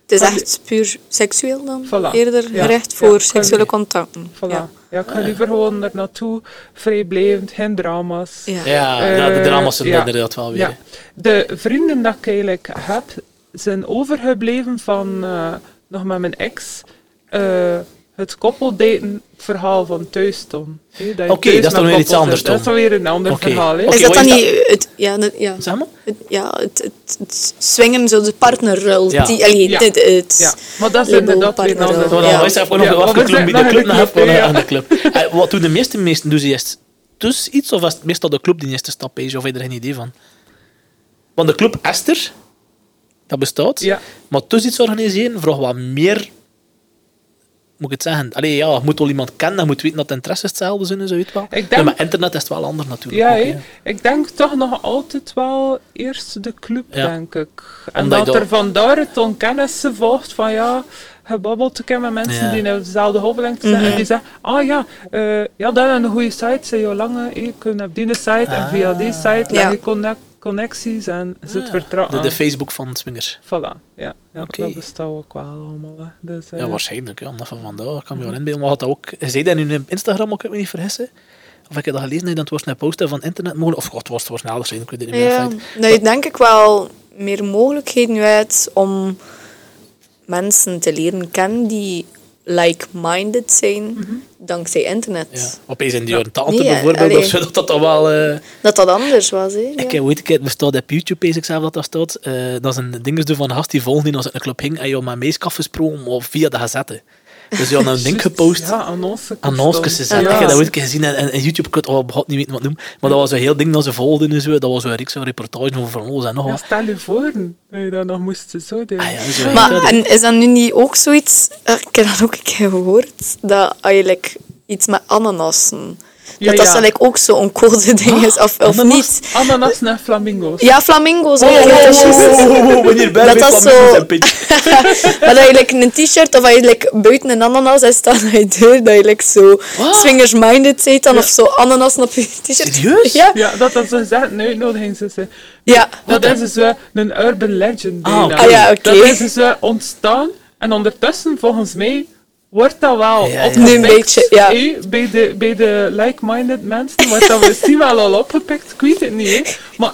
S2: Het is echt puur seksueel dan?
S3: Ah, Voilà.
S2: Eerder
S3: Ja.
S2: gericht
S3: Ja,
S2: voor
S3: kan-
S2: seksuele contacten.
S3: Voilà. Ja.
S2: Ja.
S3: ik ga liever gewoon er naartoe, vrijblijvend, geen drama's.
S2: Ja.
S1: Ja,
S3: Eh,
S1: ja, de drama's zijn er
S3: ja.
S1: inderdaad wel weer.
S3: Ja.
S1: hè.
S3: De vrienden dat ik eigenlijk heb, zijn overgebleven van eh, nog met mijn ex. eh, het koppeldaten verhaal van thuis, Tom. Hé, je
S1: Oké,
S3: thuis
S1: dat is dan
S3: met
S1: weer iets
S3: koppels
S1: anders,
S3: hebt. Dat is dan weer een ander
S1: Oké.
S3: verhaal. hè.
S1: Oké,
S2: Is dat
S1: wat
S2: dan
S1: is
S2: niet... Het, ja, dat- ja.
S1: Zeg maar.
S2: Het, ja, het, het, het swingen, zo de partnerrol.
S1: Ja.
S2: Die, allee,
S3: Ja.
S2: dit- het,
S3: Ja, maar dat is
S2: Label
S3: inderdaad weer een
S2: partner,
S3: ander
S1: Zo, dan
S2: Ja.
S1: was hij gewoon
S3: Ja,
S1: nog
S3: want
S1: de
S3: we
S1: club
S3: zijn
S1: bij
S3: nog
S1: de
S3: in
S1: club
S3: de
S1: nog
S3: club,
S1: even
S3: ja.
S1: aan de club. Eh, Wat doen de meeste mensen? Doen ze eerst dus iets of is het meestal de club die eerst de stap is? Of heb je er geen idee van? Want de club Esther, dat bestaat.
S3: Ja.
S1: Maar dus iets organiseren vraagt wat meer... Moet ik het zeggen? Allee, ja, je moet wel iemand kennen, je moet weten dat de interesses hetzelfde zijn en zo, weet je wel.
S3: denk-
S1: Ja, maar internet is het wel anders natuurlijk.
S3: Ja,
S1: ook,
S3: hé.
S1: hè.
S3: ik denk toch nog altijd wel eerst de club,
S1: Ja.
S3: denk ik. En
S1: Omdat je
S3: dat
S1: dat-
S3: er vandaar het onkennissen volgt van ja, gebabbeld te kennen met mensen
S1: Ja.
S3: die in dezelfde hoofdlengte zijn.
S2: Mhm.
S3: En die zeggen, ah ja, eh ja, dat is een goede site, zijn jouw lange, je kunt op die site
S1: Ah.
S3: en via die site leg
S2: Ja.
S3: je connect- connecties en is het
S1: Ja,
S3: vertrouwen.
S1: Ah. De, de Facebook van Swingers.
S3: Voilà, ja, ja
S1: Oké.
S3: dat bestaat ook wel allemaal. hè. Dus, eh,
S1: Ja, waarschijnlijk. Ja, omdat van vandaag kan me wel inbeelden. Maar had dat ook... Zei dat in hun Instagram, ook, ik me niet vergissen? Of ik heb dat gelezen, dat het was een poster van internet mogelijk. Of god, het was het waarschijnlijk, ik weet het niet meer.
S2: Ja,
S1: feit.
S2: dat je denk ik wel meer mogelijkheden uit om mensen te leren kennen die like-minded zijn
S3: Mhm.
S2: dankzij internet.
S1: Ja. Opeens in de jaren 80
S2: Nee,
S1: bijvoorbeeld,
S2: allee.
S1: of zo, dat dat dan wel... eh,
S2: Dat dat anders was, hè? Ja.
S1: Ik heb ooit een keer, het bestaat op YouTube, is ik zelf dat dat staat. eh, dat is een dingetje van een gast die volgde die als uit een club hing en joh, met meeskaf gesprongen of via de gazette. Dus je had een link gepost.
S3: Ja, annonce.
S1: Annonces gezet. Ik heb dat ooit een keer gezien en, en, en YouTube ik al begot niet weten wat het noemt. Maar dat was een heel ding dat ze volgden en zo. Dat was een reeks van reportages over van alles en nog
S3: Ja,
S1: wat.
S3: stel je voor dat je dat nog moest zo doen.
S1: Ah, ja, zo,
S2: Maar
S1: dat is-
S2: en is dat nu niet ook zoiets, eh, ik heb dat ook een keer gehoord, dat eigenlijk iets met ananassen,
S3: Ja,
S2: dat dat
S3: ja.
S2: eigenlijk ook zo'n code ding is, of, of
S1: ananas?
S2: niet.
S3: Ananas naar flamingo's.
S2: Ja, flamingo's. hè,
S1: Oh,
S2: ja, dat is
S1: oh,
S2: juist.
S1: oh, oh, oh, wanneer ben
S2: Dat
S1: je
S2: dat
S1: van
S2: zo-
S1: Mies en Piet?
S2: Maar dat je like, een t-shirt of als je like, buiten een ananas hebt staan aan je deur, dat je like, zo
S1: Ah.
S2: swingers-minded zit dan of zo ananas op je t-shirt.
S1: Serieus?
S2: Ja.
S3: Ja, dat dat zo gezegd een uitnodiging zou zijn.
S2: Ja.
S3: Dat is dus wel een urban legend.
S1: Ah,
S3: bijna.
S1: oké. Ah,
S2: ja, oké.
S3: Dat is dus wel ontstaan en ondertussen, volgens mij, wordt dat wel
S1: Ja, ja.
S3: opgepikt.
S2: Nu een beetje, ja.
S3: Eh, bij de, bij de like-minded mensen wordt dat misschien wel al opgepikt, ik weet het niet. hè. Maar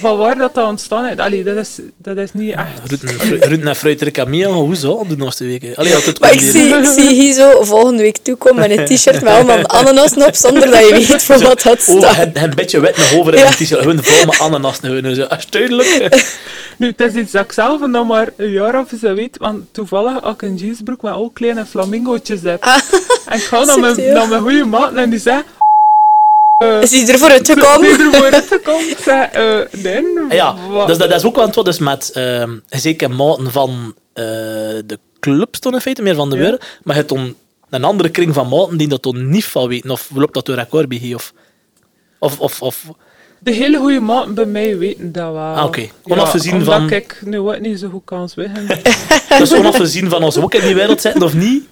S3: van waar dat, dat ontstaan is, allee, dat is, dat is niet echt...
S1: Ruud naar Fruiter Camille, hoezo? Om de laatste weken. Allee, altijd
S2: Maar ik
S1: goed
S2: zie, ik zie hier zo volgende week toekomen met een t-shirt met allemaal ananas op, zonder dat je weet voor wat dat
S1: Oh,
S2: staat.
S1: en en een beetje wet naar over in
S2: Ja.
S1: het t-shirt. Hun vol met ananas dus, naar hun. en Zo. Dat is duidelijk.
S3: Nu, het is iets dat ik zelf nog maar een jaar of zo weet, want toevallig had ik een jeansbroek met al kleine flamingootjes heb.
S2: Ah.
S3: En ik ga naar mijn,
S2: subtiel.
S3: naar mijn goede maat en die zei...
S2: Is hij er vooruit gekomen?
S3: Die er vooruit gekomen. Ik zei, eh, nee,
S1: Ja,
S3: wat-
S1: dus dat, dat is ook wel het wat dus met ehm, zeker maten van eh, de clubs toen in feite, meer van de wereld. Maar het dan een andere kring van maten die dat dan niet van weten. Of loopt dat door akkoord bij hier, of, of, of, of
S3: De hele goede maten bij mij weten dat wel.
S1: Ah, oké. Onafgezien
S3: omdat
S1: van-
S3: ik nu ook niet zo goed kans weg
S1: Dus onafgezien van ons ook in die wereld zitten of niet.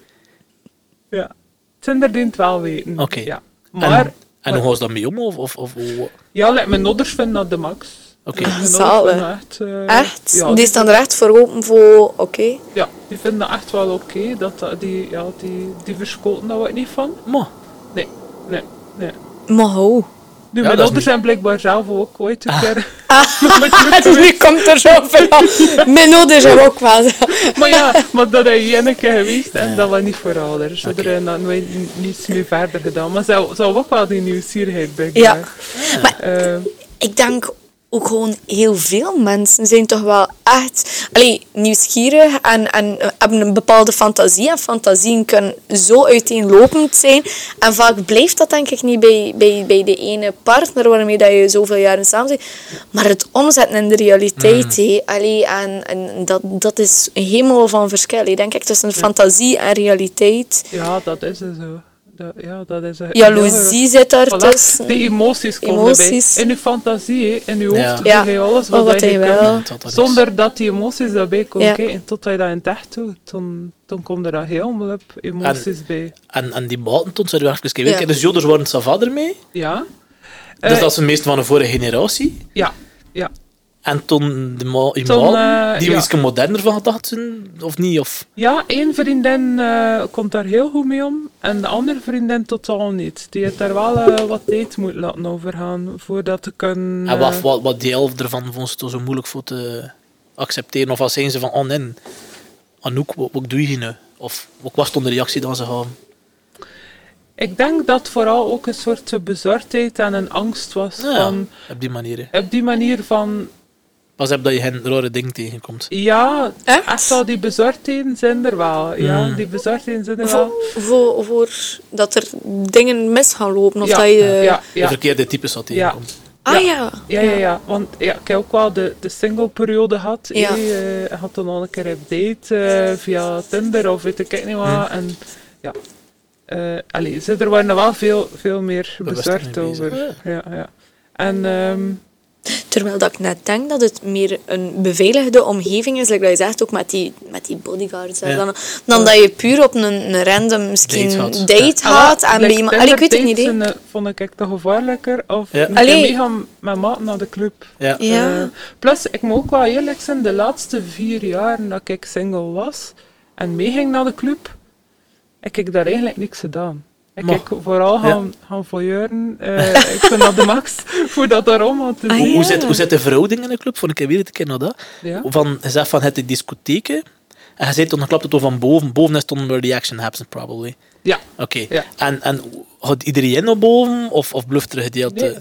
S3: ja. Het zijn er die wel weten.
S1: Oké.
S3: Ja.
S1: En-
S3: Maar,
S1: en, hoe gaan ze daarmee om? Of, of, of, hoe-
S3: ja, like, mijn ouders vinden dat de max.
S1: Oké.
S3: Mijn ouders
S2: Zalig.
S3: vinden dat Echt? eh,
S2: Echt?
S3: Ja,
S2: die
S3: die,
S2: staan er echt voor open voor... Oké.
S3: ja, die vinden dat echt wel oké. dat, dat- die, ja, die, die verschoten daar ook niet van.
S1: Maar,
S3: Nee, nee, nee.
S2: Maar hoe?
S3: Nu,
S1: Ja, dat
S3: mijn
S1: is
S3: ouders
S1: niet- Ah.
S3: zijn blijkbaar zelf ook ooit een keer...
S2: Dus nu komt er zoveel aan. Mijn ouders hebben ook wel zo.
S3: Maar ja, maar dat is één keer geweest en dat was niet voor ouders. Ze hebben dan nooit n- niets meer verder gedaan. Maar ze ze hadden ook wel die nieuwsgierigheid bij
S2: Ja.
S3: Maar, Eh,
S2: Ik denk ook gewoon heel veel mensen zijn toch wel echt allee, nieuwsgierig en, en hebben een bepaalde fantasie. En fantasieën kunnen zo uiteenlopend zijn. En vaak blijft dat denk ik niet bij, bij, bij de ene partner waarmee dat je zoveel jaren samen bent. Maar het omzetten in de realiteit,
S3: Mm.
S2: hé, allee, en, en dat, dat is een hemel van verschil. hé, denk ik tussen fantasie en realiteit.
S3: ja, dat is er zo. Dat, ja, dat is er.
S2: Jaloezie zit daar
S3: Voilà.
S2: tussen.
S3: De emoties komen
S2: Emoties.
S3: bij. In je fantasie, hè, in je
S1: Ja.
S3: hoofd, doe
S2: Ja.
S3: je alles wat,
S2: Oh, wat
S3: dat je
S2: hij
S3: kan.
S2: wel.
S1: dat dat is.
S3: Zonder dat die emoties daarbij komen
S2: Ja.
S3: kijken. Totdat je dat in het echt doet, dan, dan komen er daar helemaal op emoties
S1: Ah,
S3: bij.
S1: En, en die maten toen zijn we even kijken.
S2: Ja.
S1: Dus joders waren Sava ermee.
S3: Ja?
S1: Dus
S3: Eh,
S1: dat is de meeste van de vorige generatie.
S3: Ja, ja.
S1: En toen de ma die
S3: Toen,
S1: maten,
S3: eh,
S1: die we
S3: ja.
S1: iets moderner van gedacht zijn, of niet? Of...
S3: Ja, één vriendin eh, komt daar heel goed mee om en de andere vriendin totaal niet. Die heeft daar wel eh, wat tijd moeten laten overgaan voordat ze kunnen...
S1: En wat,
S3: eh,
S1: wat, wat die elf ervan vond ze toch zo moeilijk voor te accepteren? Of wat zijn ze van, oh nee, Anouk, wat, wat doe je nu? Of wat was toen de reactie dan ze hadden?
S3: Ik denk dat vooral ook een soort bezorgdheid en een angst was
S1: Nou ja,
S3: van...
S1: op die manier. hè.
S3: Op die manier van,
S1: Pas op dat je geen rare ding tegenkomt.
S3: ja,
S2: Echt?
S3: echt al die bezorgdheden zijn er wel. Ja,
S1: Mm.
S3: die bezorgdheden zijn er
S2: Voor,
S3: wel.
S2: voor, voor dat er dingen mis gaan lopen. Of
S3: ja,
S2: dat je...
S3: ja,
S1: De
S3: ja,
S1: verkeerde types wat tegenkomt.
S2: Ah ja.
S3: Ja, ja, ja. Want ja, ik heb ook wel de, de single-periode gehad.
S2: Ja.
S3: Ja. had dan al een keer een date eh, via Tinder of weet ik het niet wat.
S1: Hmm.
S3: En ja, eh allee, ze- er waren er wel veel, veel meer
S1: Daar was ik
S3: bezorgd
S1: mee bezig. Oh.
S3: over. Ja, ja. En ehm,
S2: Terwijl dat ik net denk dat het meer een beveiligde omgeving is, like dat je zegt, ook met die, met die bodyguards. daar
S1: Ja.
S2: Dan, dan dat je puur op een, een random misschien
S1: Date
S2: date
S1: gaat.
S2: gaat.
S3: ah, wel,
S2: en bij
S3: like
S2: iemand... Allee, ik weet het niet,
S3: Tinder-dates
S2: hè.
S3: zijn, eh, vond ik toch gevaarlijker. Of
S1: Ja.
S3: een keer
S2: Allee.
S3: meegaan met maat naar de club.
S1: Ja.
S2: Ja.
S3: Eh, plus, ik moet ook wel eerlijk zijn, de laatste vier jaar dat ik single was en meeging naar de club, heb ik daar eigenlijk niks gedaan. Ik
S1: Maar-
S3: heb vooral gaan, gaan voyeuren. eh, ik ben naar de max voor dat daarom aan te
S2: Ah,
S1: Hoe,
S3: doen.
S1: hoe,
S2: ja.
S1: zit, hoe zit de verhouding in de club? Vond ik weer een keer naar dat.
S3: Ja.
S1: Van, je zegt van, het is discotheken. En je zei toen, dan klapt het door van boven. Boven is toen where the action happens, probably.
S3: ja.
S1: Oké.
S3: Ja.
S1: En, en gaat iedereen naar boven? Of, of bluft er een gedeelte?
S3: Nee.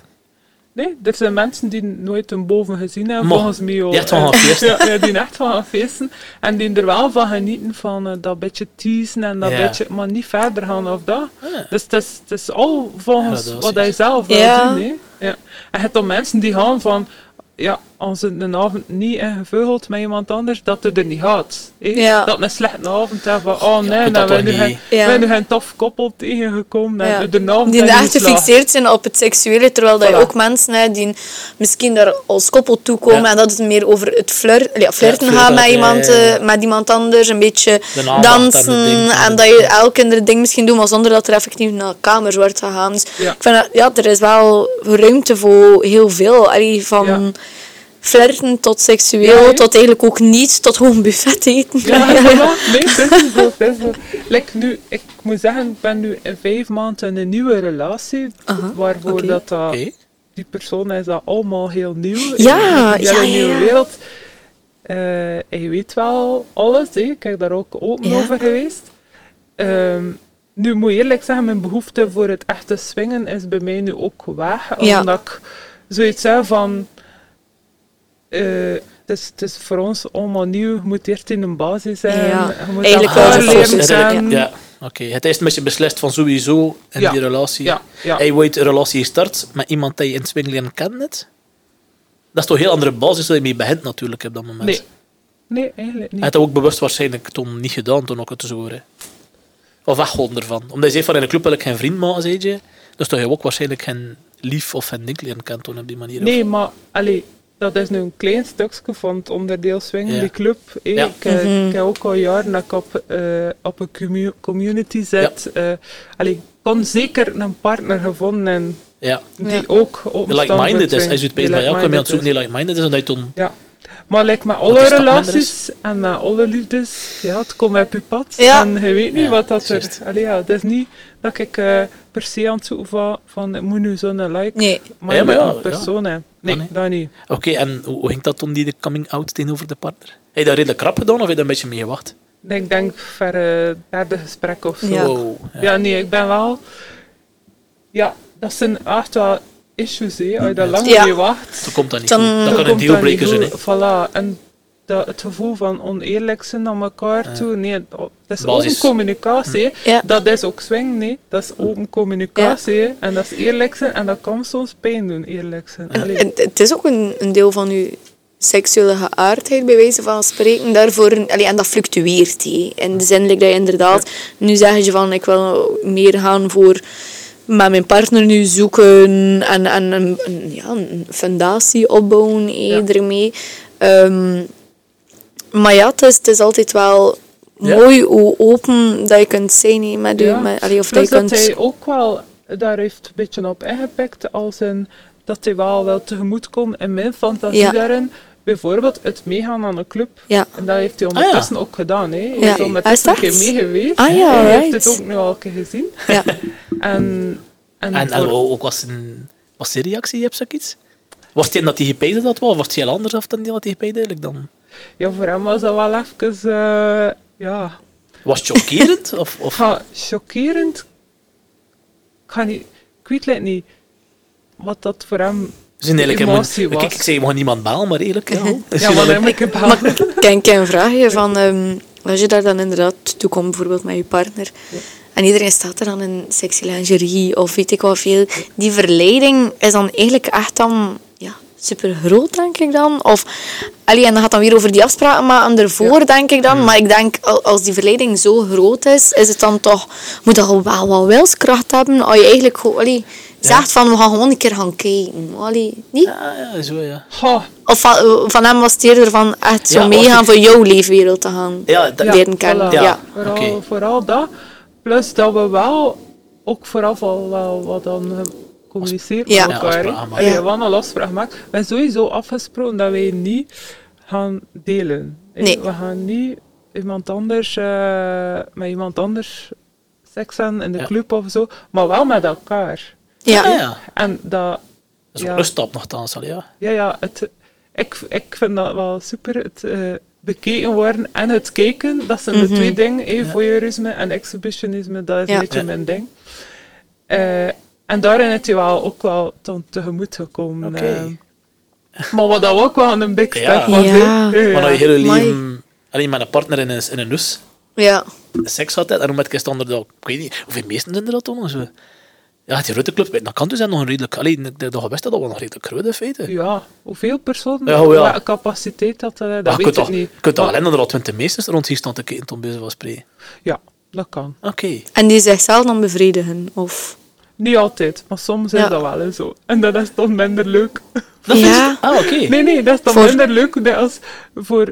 S3: Nee, er zijn mensen die nooit een boven gezien hebben,
S1: Maar,
S3: volgens mij al.
S1: die echt van gaan feesten.
S3: Ja, ja, die echt van gaan feesten. En die er wel van genieten van eh, dat beetje teasen en dat
S1: Ja.
S3: beetje, maar niet verder gaan of dat.
S1: Ja.
S3: Dus het is, het is al volgens
S1: Ja, dat is
S3: wat hij
S1: iets.
S3: zelf wil
S2: Ja.
S3: doen. Hè? Ja. En je hebt dan mensen die gaan van, ja, als het een avond niet ingevuld met iemand anders, dat het er niet gaat. hè?
S2: Ja.
S3: Dat een slechte avond hebben van, oh nee,
S1: dat
S3: nou,
S1: toch
S3: wij nu
S1: niet.
S3: geen-
S2: Ja.
S3: wij nu geen tof koppel tegengekomen.
S2: Ja.
S3: En de avond
S2: Die
S3: hebben
S2: echt
S3: niet geslaagd.
S2: gefixeerd zijn op het seksuele, terwijl dat je
S3: Voilà.
S2: ook mensen hebt die misschien daar als koppel toe komen
S1: Ja.
S2: en dat het meer over het flir ja, flirten
S1: Ja,
S2: gaat met,
S1: flirten,
S2: iemand,
S1: ja, ja, ja.
S2: eh, met iemand anders, een beetje
S1: De aandacht en het
S2: dansen
S1: ding.
S2: en dat je elk ander ding misschien doet, maar zonder dat er effectief naar kamers wordt gegaan. Dus
S3: Ja.
S2: ik vind dat, ja, er is wel ruimte voor heel veel. Allee, van
S3: Ja.
S2: flirten tot seksueel,
S3: Ja, hè?
S2: tot eigenlijk ook niet, tot gewoon buffet eten.
S3: Ja, voilà. nee, dat is zo, dat is zo. Like nu, ik moet zeggen, ik ben nu in vijf maanden in een nieuwe relatie,
S2: Aha,
S3: waarvoor
S2: oké.
S3: dat, eh, dat
S1: Oké.
S3: die persoon is dat allemaal heel nieuw.
S2: Ja,
S3: in, in
S2: ja, ja,
S3: een nieuwe
S2: ja.
S3: wereld. Eh, en je weet wel alles, hè. ik heb daar ook open
S2: Ja.
S3: over geweest. Ehm, nu moet ik eerlijk zeggen, mijn behoefte voor het echte swingen is bij mij nu ook weg.
S2: Ja.
S3: Omdat ik zoiets heb van... eh, het, is, het is voor ons allemaal nieuw, je moet eerst in een basis zijn.
S2: Ja.
S3: je moet
S2: Eigenlijk
S1: Ja,
S2: wel.
S3: elkaar
S1: Ah, dat is
S3: leren
S1: het.
S3: kennen.
S1: Ja. Oké. Het is een beetje beslist van sowieso in
S3: um, Ja.
S1: die relatie.
S3: Ja, ja.
S1: Hij weet een relatie start met iemand die je in het swing leren kennen net. Dat is toch een heel andere basis waar je mee begint natuurlijk op dat moment.
S3: Nee. nee, eigenlijk
S1: Hij
S3: niet.
S1: had dat ook bewust waarschijnlijk toen niet gedaan, toen ook het te horen. Of weggolden ervan. Omdat hij zei van in de club wil ik geen vriend maken, zei je. Dus toen heb je ook waarschijnlijk geen lief of hen niet leren kennen toen op die manier.
S3: Nee, maar allee, dat is nu een klein stukje van het onderdeel swing,
S1: Ja.
S3: die club. hè.
S1: Ja.
S3: Ik, eh,
S2: Mhm.
S3: ik heb ook al jaren dat ik op, eh, op een commu- community zit. eh allee, ik kon zeker een partner gevonden en
S1: Of, ja.
S3: die
S2: Ja.
S3: ook
S1: Die like-minded is. Als je het bezig bij jou, kom je aan het zoeken
S3: niet.
S1: die like-minded is. En dat je toen...
S3: Ja. Maar like met
S1: is
S3: alle
S1: toch
S3: relaties en met alle liefdes, ja, het komt uit je pad.
S2: Ja.
S3: En je weet niet
S1: Ja,
S3: wat dat er...
S1: juist.
S3: Allee, ja, het is niet dat ik eh, per se aan het zoeken van, van ik moet nu zo'n like,
S2: Nee.
S3: maar,
S1: Ja,
S3: ja,
S1: maar ja, ja. Ah,
S3: persoon hè. Nee,
S1: nee.
S3: dat niet.
S1: Oké, en hoe, hoe ging dat toen, die de coming-out tegenover de partner? Heb je dat redelijk krap gedaan of heb je daar een beetje mee gewacht?
S3: Ik denk ver eh, derde gesprek of zo.
S2: Ja.
S1: Wow.
S3: Ja. nee, ik ben wel... Ja, dat zijn echt wel issues, hè. Als je daar lang
S2: Ja.
S3: mee wacht...
S1: Toen komt dat niet
S2: Dan-
S1: goed. Dat
S3: dan
S1: kan een
S3: komt dat niet
S1: dealbreaker zijn. hè.
S3: goed. Voilà, en dat, het gevoel van oneerlijk zijn naar elkaar toe, nee, dat is
S1: Basis. Hm.
S3: open communicatie. hè.
S2: Ja.
S3: Dat is ook swing, nee. Dat is open communicatie, hè. en dat is eerlijk zijn, en dat kan soms pijn doen, eerlijk zijn. Allee.
S2: Het, het is ook een, een deel van uw seksuele geaardheid, bij wijze van spreken. Daarvoor, allee, en dat fluctueert. Hé. In de zin like dat je inderdaad... Nu zeg je van, ik wil meer gaan voor met mijn partner nu zoeken en, en een, een- ja, een fundatie opbouwen hé,
S3: Ja.
S2: ermee. Ehm, maar ja, het is, het is altijd wel
S1: Ja.
S2: mooi hoe open dat je kunt zijn hé, met, je-
S3: Ja.
S2: met allee, of dat
S3: Plus
S2: je
S3: dat
S2: kunt...
S3: hij ook wel, daar heeft een beetje op ingepikt, als in dat hij wel wel tegemoet komt in mijn fantasie
S2: Ja.
S3: daarin. Bijvoorbeeld het meegaan aan een club.
S2: Ja.
S3: En dat heeft hij
S1: ja.
S3: ondertussen ook gedaan. Hè. Hij
S2: Ja.
S3: is ondertussen een
S2: Ah, is
S3: keer
S2: dat?
S3: mee geweest.
S2: Ah, ja,
S3: hij
S2: right.
S3: heeft het ook nu al een keer gezien.
S2: Ja.
S3: En,
S1: En,
S3: en,
S1: en
S3: voor-
S1: ook was zijn, was zijn reactie op zoiets? Was het een dat hij gepijden had wel? Of was het heel anders af dan die dat hij gepijden eigenlijk dan?
S3: ja, voor hem was dat wel even... eh, ja,
S1: Was het chockerend? of, of
S3: Ja, chockerend. Ik, ga niet, ik weet het niet wat dat voor hem...
S1: we zijn eigenlijk
S3: emotie
S1: een, Kijk,
S3: was.
S1: ik zeg, je mag niemand balen, maar eerlijk. Ja, We
S3: Ja,
S1: zijn
S3: maar
S1: eigenlijk-
S3: dan moet ik hem
S2: Maar ik ken, ken een vraagje van... ehm, als je daar dan inderdaad toe komt, bijvoorbeeld met je partner... En iedereen staat er dan in sexy lingerie of weet ik wat veel. Die verleiding is dan eigenlijk echt dan... Ja, super groot, denk ik dan. Of... Allee, en dat gaat dan weer over die afspraken maken ervoor, denk ik dan. Maar ik denk, al- als die verleiding zo groot is, is het dan toch... Moet dat wel wel wat wilskracht hebben. Als je eigenlijk gewoon... Allee, zegt van, we gaan gewoon een keer gaan kijken. Allee, niet?
S1: Ja, ja, zo ja.
S3: Ha,
S2: Of van, van hem was het eerder van echt zo
S1: Ja,
S2: meegaan
S1: of-
S2: voor jouw leefwereld te gaan
S1: Ja, dat-
S2: leren kennen.
S3: voilà.
S2: Ja.
S3: Vooral,
S1: oké.
S3: vooral dat. Plus dat we wel ook vooral wel wel wat dan eh, communiceren
S2: Ja.
S3: met
S1: Ja,
S3: elkaar. hè.
S1: afspraken maken.
S3: Allee,
S2: Ja.
S3: We hebben al afspraken gemaakt. We hebben sowieso afgesproken dat wij niet gaan delen. hè.
S2: Nee.
S3: We gaan niet iemand anders, eh, met iemand anders seks hebben in de
S1: Ja.
S3: club of zo, maar wel met elkaar.
S2: Ja.
S1: Ah, ja.
S3: En dat...
S1: Dat is ook
S3: ja.
S1: een stap nogthans al, ja.
S3: Ja, ja, het, ik, ik vind dat wel super. Het eh, bekeken worden en het kijken, dat zijn de twee dingen. eh, Voyeurisme en exhibitionisme, dat is
S2: Mhm. Ja.
S3: een beetje
S1: Ja.
S3: mijn ding. Eh, en daarin is je wel ook wel ten, tegemoet gekomen.
S1: Oké.
S3: eh. maar wat dat ook wel een big step
S1: Ja.
S3: was. hè.
S2: Ja.
S3: Eh,
S1: Maar als je
S3: ja.
S1: hele
S2: Amai.
S1: leven alleen met een partner in een, in een nus
S2: Ja.
S1: seks had, en dan met kerst onderdag, ik weet niet, hoeveel meesten zijn er dat dan? Zo? Ja, die Rutte Club, dat kan dus nog een redelijk, alleen de, de, de best dat wel nog redelijk groot in feite.
S3: Ja, hoeveel personen,
S1: Ja, hoe ja.
S3: welke capaciteit dat, eh, dat
S1: Maar je
S3: weet
S1: kunt
S3: ik
S1: toch-
S3: niet.
S1: je kunt toch
S3: Maar-
S1: alleen dat er al twintig meesters rond hier staan te kijken toen bezig was spreken.
S3: Ja, dat kan.
S1: Oké.
S2: En die zichzelf dan bevredigen. Of...
S3: Niet altijd, maar soms
S2: Ja.
S3: is dat wel eens zo. En dat is toch minder leuk.
S2: ja.
S1: Ah, oké.
S3: Nee, nee, dat is dan
S2: Voor-
S3: minder leuk nee, als voor,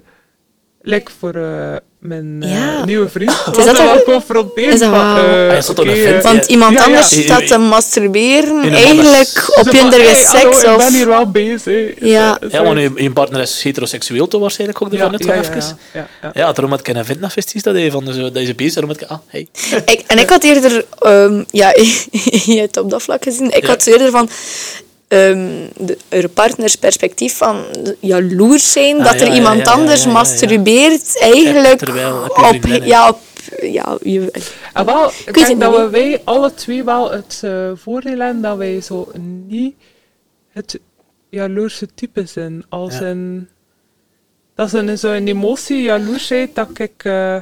S3: like voor eh, mijn eh,
S2: Ja.
S3: nieuwe vriend. Was
S2: dat
S3: dat
S2: ook-
S3: wel confronterend?
S2: is dat
S3: van,
S2: wel-
S3: eh,
S1: Ah, je zat op een
S3: oké,
S1: vent,
S3: eh,
S2: Want
S1: Ja.
S2: iemand
S3: Ja, ja.
S2: anders
S1: In-
S2: staat te masturberen
S1: in een
S2: eigenlijk
S1: anders-
S2: op
S3: zo van,
S2: je
S3: hey,
S2: seks.
S3: eh, hallo, ik
S2: Of...
S3: ben hier wel bezig. eh,
S2: Ja.
S3: eh,
S1: Ja, want
S3: sorry.
S1: je, je partner is heteroseksueel, toch waarschijnlijk ook ervan
S3: ja,
S1: uit,
S3: ja,
S1: wel
S3: ja,
S1: even.
S3: ja, ja.
S1: Ja, daarom had ik een vintnafest is dat hij van zo, eh, dat is bezig, daarom had ik, ah, hey.
S2: Ik, en ik had eerder... ehm, ja, je hebt op dat vlak gezien. Ik
S1: Ja.
S2: had zo eerder van... ehm de, haar partners perspectief van jaloers zijn
S1: Ah,
S2: dat
S1: ja,
S2: er
S1: ja,
S2: iemand
S1: ja, ja,
S2: anders
S1: ja, ja, ja.
S2: masturbeert eigenlijk
S1: terwijl op je
S2: op,
S1: vriendin, hè.
S2: ja, op ja, je,
S3: Ah, wel,
S2: Ik
S3: ik
S2: weet
S3: denk
S2: het
S3: dat
S2: niet.
S3: we wij alle twee wel het eh, voordeel hebben dat wij zo niet het jaloerse type zijn. Als
S1: Ja.
S3: een, dat is een, zo een emotie, jaloersheid, dat ik eh,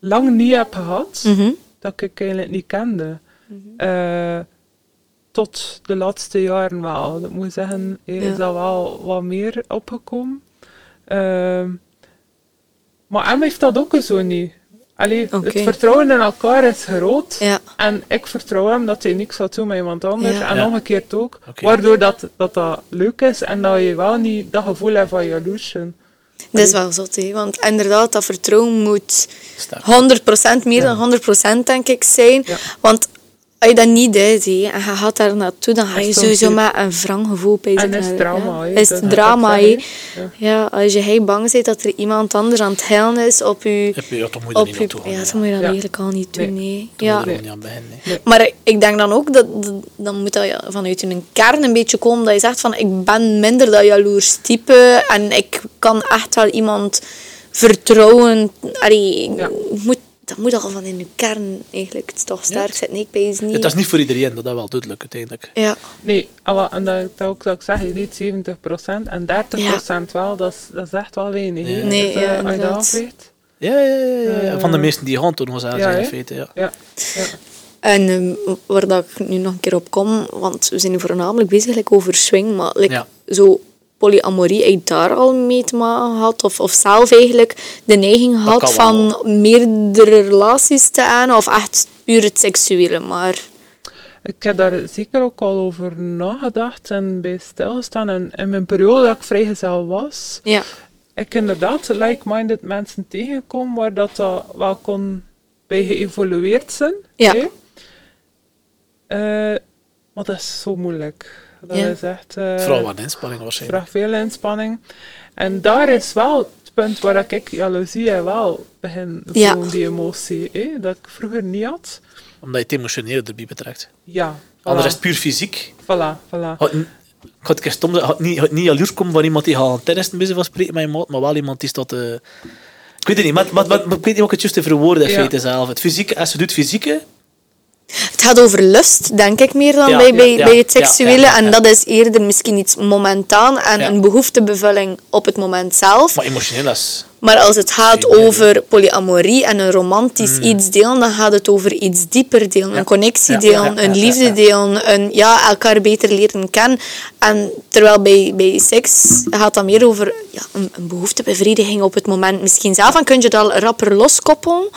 S3: lang niet heb gehad.
S2: Mhm.
S3: Dat ik eigenlijk niet kende. Eh, tot de laatste jaren wel. Ik moet zeggen, eh,
S2: Ja.
S3: is dat wel wat meer Eh, opgekomen. Ehm, maar hem heeft dat ook zo niet. Allee,
S2: Oké.
S3: het vertrouwen in elkaar is groot.
S2: Ja.
S3: En ik vertrouw hem dat hij niks gaat doen met iemand anders.
S2: Ja.
S3: En
S1: Ja.
S3: omgekeerd ook.
S1: Oké.
S3: Waardoor dat, dat dat leuk is en dat je wel niet dat gevoel hebt van jaloersje.
S2: Dat is wel zot, hè? want inderdaad, dat vertrouwen moet
S1: Sterk.
S2: 100%, meer dan 100% denk ik zijn.
S3: Ja.
S2: Want als je dat niet deed hè, en je gaat daar naartoe, dan ga
S3: Dat
S2: je
S3: is
S2: sowieso
S3: toch
S2: met een wrang gevoel bezig.
S3: En is
S2: naar-
S3: drama,
S2: ja.
S3: hè.
S2: Is
S3: Dat-
S2: het drama,
S3: dat-
S2: hè.
S3: ja.
S2: Ja, als je heel bang bent dat er iemand anders aan het helen is op je...
S1: Heb je- Ja, dan moet je er
S2: Op
S1: niet
S2: je
S1: naartoe gaan.
S2: ja,
S1: Ja,
S2: dan moet je dat
S3: Ja.
S2: eigenlijk al niet doen, nee.
S1: Dan
S2: Ja.
S1: moet je er ook niet aan beginnen. hè.
S2: Maar ik- ik denk dan ook dat, dat- dan moet dat ja, vanuit je kern een beetje komen dat je zegt van ik ben minder dat jaloers type en ik kan echt wel iemand vertrouwen. Allee, ik
S3: Ja.
S2: moet, dat moet al van in je kern eigenlijk toch sterk zijn. Nee, ik weet niet.
S1: Het is niet voor iedereen, dat is wel duidelijk uiteindelijk.
S2: Ja,
S3: Nee, alla- en dat, dat ook dat ik zeg, je deed 70% en 30% wel, dat is, dat is echt wel weinig. hè.
S2: Nee,
S3: Dus, eh,
S2: ja,
S3: als je dat
S2: inderdaad.
S3: afweegt,
S1: Ja, ja, ja, ja, ja. Van de meesten die hand toen was aan
S3: Ja,
S1: zijn in
S3: hè?
S1: feite, ja.
S3: Ja, ja.
S2: en ehm, waar dat ik nu nog een keer op kom, want we zijn nu voornamelijk bezig like, over swing, maar like,
S1: Ja.
S2: zo polyamorie, heb je daar al mee te maken gehad? Of, of zelf eigenlijk de neiging gehad
S1: kan
S2: van meerdere relaties te aan? Of echt puur het seksuele, maar...
S3: Ik heb daar zeker ook al over nagedacht en bij stilgestaan. En in mijn periode dat ik vrijgezel was,
S2: Ja.
S3: ik inderdaad like-minded mensen tegenkom waar dat, dat wel kon bij geëvolueerd zijn.
S2: Ja.
S3: hè. Eh, maar dat is zo moeilijk. Dat
S2: Ja.
S3: is echt... eh,
S1: Vooral wat inspanning waarschijnlijk.
S3: vraagt veel inspanning. En daar is wel het punt waar ik jaloezie en wel begin
S2: Ja.
S3: voelen, die emotie, hè, dat ik vroeger niet had.
S1: Omdat je het emotioneel erbij betrekt.
S3: Ja, voilà,
S1: Anders is het puur fysiek.
S3: voilà, voilà.
S1: Had n- Ik ga het een keer stom zeggen, had niet, had niet jaloers komen van iemand die al aan tennissen bezig was spreken met je maat, maar wel iemand die staat... eh ik weet het niet, maar, maar, maar, maar ik weet niet hoe ik het juist te verwoorden in
S3: Ja.
S1: feite zelf. Het fysieke, als je doet fysieke,
S2: Het gaat over lust, denk ik, meer dan
S1: Ja,
S2: bij,
S1: ja,
S2: bij,
S1: ja,
S2: bij het
S1: ja, ja,
S2: seksuele.
S1: ja, ja.
S2: En dat is eerder misschien iets momentaan en
S1: Ja.
S2: een behoeftebevulling op het moment zelf.
S1: maar emotioneel is...
S2: Maar als het gaat
S1: Geen idee.
S2: over polyamorie en een romantisch iets delen, dan gaat het over iets dieper delen. Een connectie
S1: Mm. Ja,
S2: delen,
S1: ja, ja,
S2: een
S1: ja,
S2: liefde
S1: ja.
S2: delen, een ja, elkaar beter leren kennen. En terwijl bij, bij seks gaat dat meer over ja, een, een behoeftebevrediging op het moment misschien zelf. En kun je dat rapper loskoppelen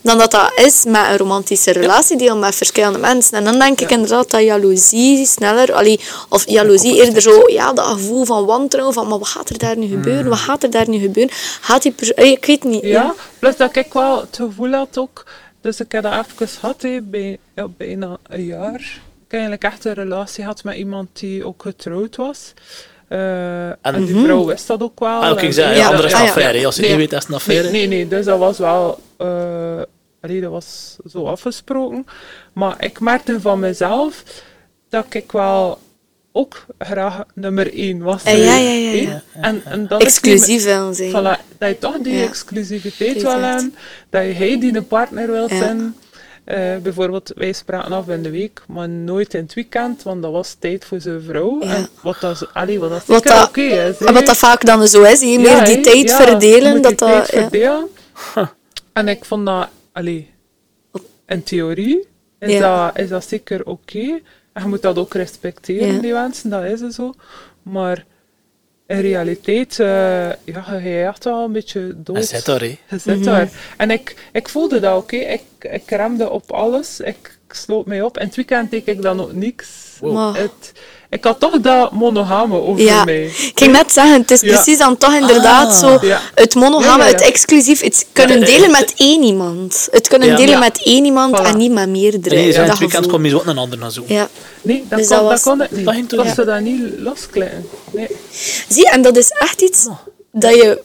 S2: dan dat dat is met een romantische relatie delen met verschillende mensen. En dan denk ik inderdaad dat jaloezie sneller, allee, of jaloezie eerder zo, ja, dat gevoel van wantrouwen, van maar wat gaat er daar nu gebeuren? Wat gaat er daar nu gebeuren? Gaat die persoon... Ik weet het niet.
S3: Hmm. Ja, plus dat ik wel het gevoel had ook, dus ik heb dat even gehad, hè, bij, ja, bijna een jaar. Ik heb eigenlijk echt een relatie gehad met iemand die ook getrouwd was. Eh, en, die vrouw wist dat ook wel.
S1: Mhm. Ah, oké, ik
S3: En-
S1: zei,
S2: Ja.
S1: andere is een
S2: Ah, ja.
S1: affaire. hè. Als je
S3: Nee.
S1: niet weet, dat is een
S3: Nee,
S1: affaire.
S3: nee, nee, dus dat was wel. eh allee, dat was zo afgesproken. Maar ik merkte van mezelf dat ik wel ook graag nummer één was.
S2: Eh, ja, ja, ja, ja.
S3: En, en dat is die-
S2: Exclusief wel zijn.
S3: Voilà, dat je toch die
S2: Ja.
S3: exclusiviteit
S2: Exact.
S3: wil hebben, dat je hij die een partner wilt
S2: Ja.
S3: zijn. Eh, bijvoorbeeld, wij spraken af in de week, maar nooit in het weekend, want dat was tijd voor zijn vrouw.
S2: Ja.
S3: En wat dat, is- allee, wat dat
S2: Wat
S3: zeker
S2: dat-
S3: oké is. hè.
S2: En Ah, wat dat vaak dan zo is, je meer
S3: Ja,
S2: die
S3: hè,
S2: tijd
S3: ja, je
S2: verdelen.
S3: moet
S2: Dat eh,
S3: die
S2: dat,
S3: tijd
S2: ja.
S3: verdelen. En ik vond dat, allee, in theorie is,
S2: Ja.
S3: dat, is dat zeker oké. En je moet dat ook respecteren,
S2: Ja.
S3: die wensen, dat is zo. Maar in realiteit, eh ja, je gaat echt wel een beetje dood.
S1: Hij zit daar, hè.
S3: Je
S2: Mhm.
S3: zit daar. En ik, ik voelde dat oké. Ik, ik remde op alles. Ik sloot mij op. En het weekend deed ik dan ook niks.
S2: Wow. Maar-
S3: Het, ik had toch dat monogame over
S2: Ja,
S3: mij.
S2: ik ging net zeggen, het is
S3: Ja.
S2: precies dan toch inderdaad
S1: Ah.
S2: zo
S3: Ja.
S2: het monogame,
S3: Ja, ja, ja.
S2: het exclusief, het kunnen delen met één iemand. Het kunnen
S3: Ja.
S2: delen
S3: Ja.
S2: met één iemand
S3: Voilà.
S2: en niet met meerdere.
S1: Nee,
S2: dat
S1: in het weekend
S2: gevoel.
S1: kwam je zo ook een ander naar zoeken.
S2: Ja.
S3: Nee, dat,
S2: Dus
S3: kon,
S2: dat
S3: dat,
S2: was-
S3: kon ik niet.
S1: Dat ging toen
S3: Ik kon
S1: niet.
S3: ze dat niet loskletten. Nee.
S2: Zie, en dat is echt iets dat je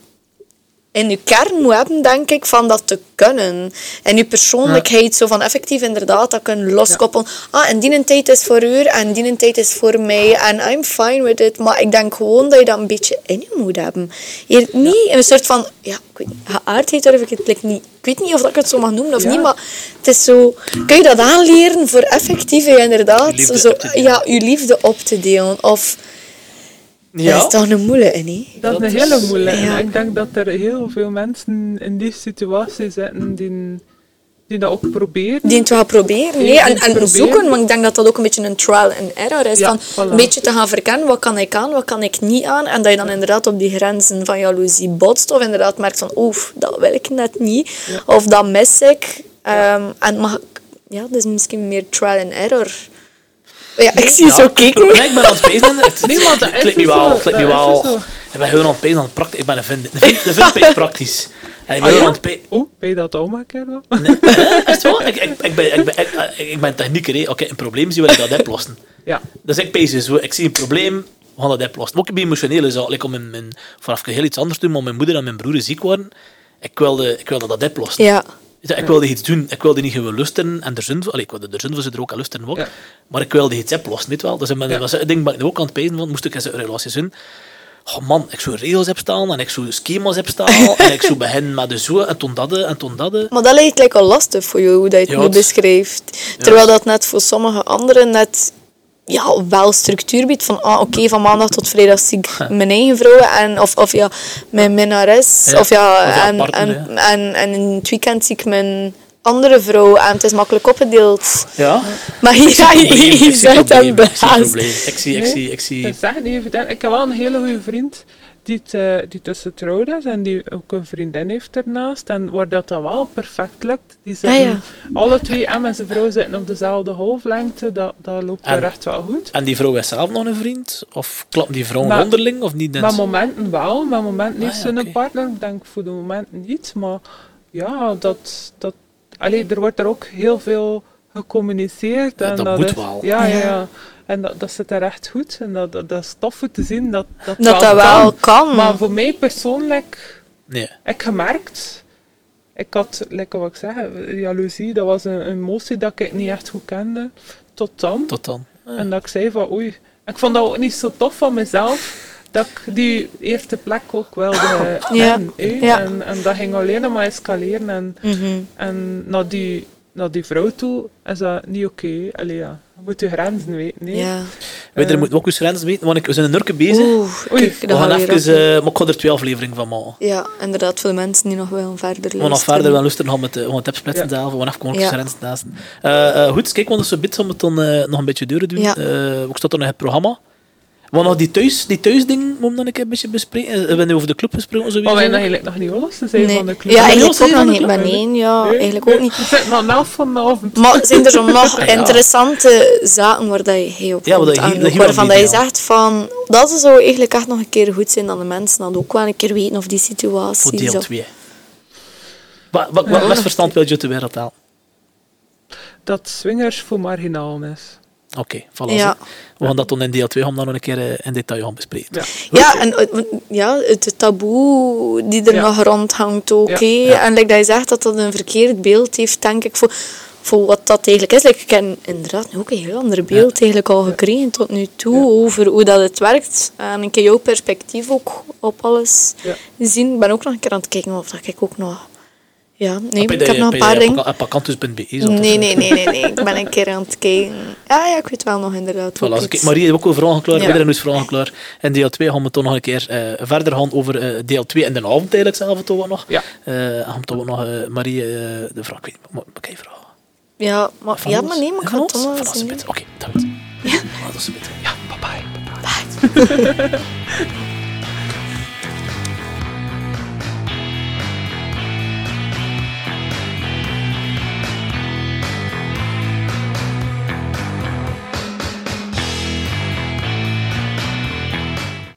S2: in je kern moet hebben, denk ik, van dat te kunnen. En je persoonlijkheid, zo van effectief inderdaad, dat kunnen loskoppelen. Ah, en die een tijd is voor u en die een tijd is voor mij. En I'm fine with it. Maar ik denk gewoon dat je dat een beetje in je moet hebben. Hier, niet een soort van, ja, ik weet niet, geaardheid durf ik het like, niet. Ik weet niet of dat ik het zo mag noemen of
S3: Ja.
S2: niet, maar het is zo... Kun je dat aanleren voor effectief, eh, inderdaad,
S1: Je liefde
S2: zo,
S1: op te delen.
S2: ja, je liefde op te delen? Of... Dat is toch een moeilijke, niet?
S3: Dat,
S1: Dat
S3: is een
S1: is-
S3: hele moeilijke.
S2: Ja.
S3: Ik denk dat er heel veel mensen in die situatie zitten die, die dat ook proberen.
S2: Die het wel proberen.
S3: Die
S2: Nee, en,
S3: het
S2: en
S3: proberen.
S2: zoeken, want ik denk dat dat ook een beetje een trial and error is.
S3: Ja,
S2: van
S3: voilà.
S2: Een beetje te gaan verkennen, wat kan ik aan, wat kan ik niet aan. En dat je dan inderdaad op die grenzen van jaloezie botst. Of inderdaad merkt van, oef, dat wil ik net niet. Of dat mis ik. Ehm, en mag ik- ja, dat is misschien meer trial and error. Ja, ik zie
S1: Ja.
S2: zo kijken.
S1: Nee, ik ben aan het pezen. Het,
S3: Nee, maar dat is
S1: klinkt nu
S3: dus
S1: wel.
S3: zo,
S1: Het klinkt nu
S3: dat is
S1: wel.
S3: dus zo.
S1: Ik ben gewoon aan het pezen. aan het prakti- Ik ben een vind- de vind- de vindpees praktisch. En ik ben
S3: Ah,
S1: gewoon
S3: ja?
S1: aan het pe-
S3: Oh, ben je dat oma een keer wel?
S1: Is het waar? Ik, ik, ik ben, ik, ben, ik, ik- ik ben technieker. hè. Als ik een probleem zie, wil ik dat oplossen.
S3: Ja.
S1: Dus ik pees dus, ik zie een probleem, we gaan dat oplossen. Maar Ook bij emotionele zaken, like om mijn, mijn, vanaf ik heel iets anders te doen, maar mijn moeder en mijn broer ziek waren, ik wilde, ik wilde dat oplossen.
S2: Ja.
S1: Dus ik wilde iets doen, ik wilde niet gewoon lusten en er zin voor, allee, ik wilde er zin voor ze er ook aan lusten ook,
S3: Ja.
S1: maar ik wilde iets oplossen, niet wel. Dus ik ben,
S3: Ja.
S1: was een ding ben ik nu ook aan het pezen, want moest ik eens een relatie doen. Oh man, ik zou regels heb staan en ik zou schema's heb staan en ik zou beginnen met de zo en toen dat en toen dat.
S2: Maar dat lijkt like, al lastig voor jou, hoe dat je het
S1: Ja,
S2: nu
S1: het-
S2: beschrijft. Terwijl dat net voor sommige anderen net ja, wel structuur biedt. Van, ah, oké, van maandag tot vrijdag zie ik mijn eigen vrouw. En, of, of ja, mijn minnares.
S1: Ja,
S2: Of ja,
S1: of ja,
S2: en,
S1: partner,
S2: en, en, en in het weekend zie ik mijn andere vrouw. En het is makkelijk opgedeeld.
S1: Ja,
S2: Maar hier ga Ah, je
S1: Probleem, ik zie
S2: je zet hem
S1: probleem, ik zie
S2: baas.
S1: probleem. Ik zie, ik
S3: Nee.
S1: zie, ik zie.
S3: Ik zeg het niet even. Ik heb wel een hele goede vriend die, het, eh, die tussen trouwd is en die ook een vriendin heeft ernaast. En waar dat dan wel perfect lukt. Die
S2: Ah,
S3: zitten,
S2: ja.
S3: Alle twee hem en zijn vrouw zitten op dezelfde golflengte. Dat, dat loopt
S1: En-
S3: er echt wel goed.
S1: En die vrouw is zelf nog een vriend? Of klappen die vrouwen
S3: Maar-
S1: onderling of niet?
S3: Met momenten wel, met momenten heeft
S1: Ah,
S3: ze
S1: ja,
S3: een
S1: oké.
S3: partner. Ik denk voor de moment niet. Maar ja, dat, dat, allee, er wordt er ook heel veel gecommuniceerd.
S1: Ja,
S3: en
S1: dat moet
S3: is-
S1: wel.
S3: Ja, ja,
S2: Ja.
S3: ja. En dat, dat zit er echt goed. En dat, dat, dat is tof om te zien dat dat,
S2: Dat dat
S3: kan.
S2: wel kan.
S3: Maar voor mij persoonlijk,
S1: Nee.
S3: ik gemerkt, ik had, lekker wat ik zeg, jaloezie, dat was een emotie dat ik niet echt goed kende, tot dan.
S1: Tot dan.
S3: En dat ik zei van oei, ik vond dat ook niet zo tof van mezelf, dat ik die eerste plek ook wilde
S2: Ja,
S3: hebben, hè.
S2: ja.
S3: En, en dat ging alleen nog maar escaleren en,
S2: Mhm.
S3: en naar, die, naar die vrouw toe is dat niet oké. Allee, ja. Je moet je grenzen weten, hè.
S2: Ja.
S1: Wij er
S3: Eh.
S1: moeten ook eens grenzen weten, want ik, we zijn een nurken bezig.
S2: Oeh,
S3: Oei,
S2: kijk,
S1: we
S2: dat
S1: gaan
S2: gaan we weer
S1: even,
S2: op.
S1: eh, maar ik ga er twee afleveringen van maken.
S2: Ja, inderdaad, voor de mensen die nog wel verder
S1: We gaan nog
S2: luisteren.
S1: verder wel lusten, gaan met eh, we gaan het opsplitsen
S3: Ja.
S1: zelf, we gaan even gewoon
S2: Ja.
S1: grenzen naast. Eh, eh, goed, kijk, want dat is bits om het dan eh, nog een beetje deuren doen.
S2: Ja.
S1: Eh, ook staat er nog het programma. Want nog die, thuis, die thuisding moeten we dan een keer een beetje bespreken. Eh, We hebben nu over de club gesproken. Sowieso.
S3: Maar wij zijn eigenlijk Oh, nog niet los te zijn van de club.
S2: Ja,
S1: Ben je
S2: eigenlijk
S1: ook
S2: ook nog
S1: van de
S2: niet.
S1: club?
S2: Maar nee, ja,
S3: Nee,
S2: eigenlijk
S3: nee.
S2: ook niet.
S3: We zitten nog na vanavond.
S2: Maar zijn er zo nog
S1: Ja.
S2: interessante zaken waar dat je heel op
S1: Ja, wat dat
S2: komt
S1: je hier-
S2: aan-
S1: dat je hier
S2: Waarvan
S1: wel
S2: dat je
S1: niet
S2: zegt van... Dat ze zou eigenlijk echt nog een keer goed zijn dat de mensen dat ook wel een keer weten of die
S1: Voor
S2: situatie.
S1: deel
S2: zo.
S1: 2. Wat, wat, wat, wat verstand wil je te wereld halen?
S3: dat swingers voor marginaal is.
S1: Oké, voilà.
S2: Ja.
S1: zo. We gaan dat dan in deel 2 gaan we dan nog een keer eh, in detail gaan bespreken.
S3: Ja.
S2: Ja, en eh, want- ja, het taboe die er
S3: Ja.
S2: nog rondhangt ook.
S3: Ja.
S2: hè. En like dat je zegt dat dat een verkeerd beeld heeft, denk ik, voor, voor wat dat eigenlijk is. Like, ik heb inderdaad nu ook een heel ander beeld eigenlijk al gekregen tot nu toe over hoe dat het werkt. En ik heb jouw perspectief ook op alles
S3: Ja.
S2: zien. Ik ben ook nog een keer aan het kijken of dat ik ook nog... Ja, nee,
S1: Bij
S2: ik
S1: de-
S2: heb nog een
S1: bij
S2: paar
S1: de
S2: dingen.
S1: appa- appacantus.be zat er
S2: Nee,
S1: zo.
S2: nee, nee, nee, nee. Ik ben een keer aan het kijken. Ah ja, ik weet wel nog inderdaad
S1: Voilà,
S2: hoe
S1: dus
S2: ik
S1: ik-
S2: het-
S1: Marie heeft ook al vragen klaar,
S2: Ja.
S1: iedereen is vragen klaar. In deel 2 gaan we toch nog een keer eh, verder gaan over eh, deel 2 en de avond eigenlijk zelf toch wel nog.
S3: Ja.
S1: Eh, gaan we toch wel nog eh, Marie eh, de vraag, ik weet niet, maar maar kan je vragen?
S2: Ja, maar,
S1: Van
S2: ja,
S1: ons?
S2: maar nee, maar ik
S1: Van
S2: ga het
S1: ons?
S2: toch nog
S1: Voilà,
S2: eens
S1: zo
S2: doen.
S1: bit. Oké, dat is het. Voilà, dat is het.
S3: Ja, bye bye. bye, bye.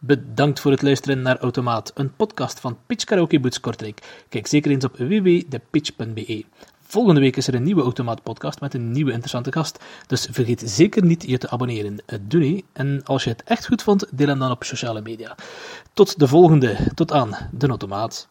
S1: Bedankt voor het luisteren naar Automaat, een podcast van Pitch Karaoke Boots Kortrijk. Kijk zeker eens op www.thepitch.be. Volgende week is er een nieuwe Automaat-podcast met een nieuwe interessante gast. Dus vergeet zeker niet je te abonneren. Eh, Doe niet. En als je het echt goed vond, deel hem dan op sociale media. Tot de volgende. Tot aan de Automaat.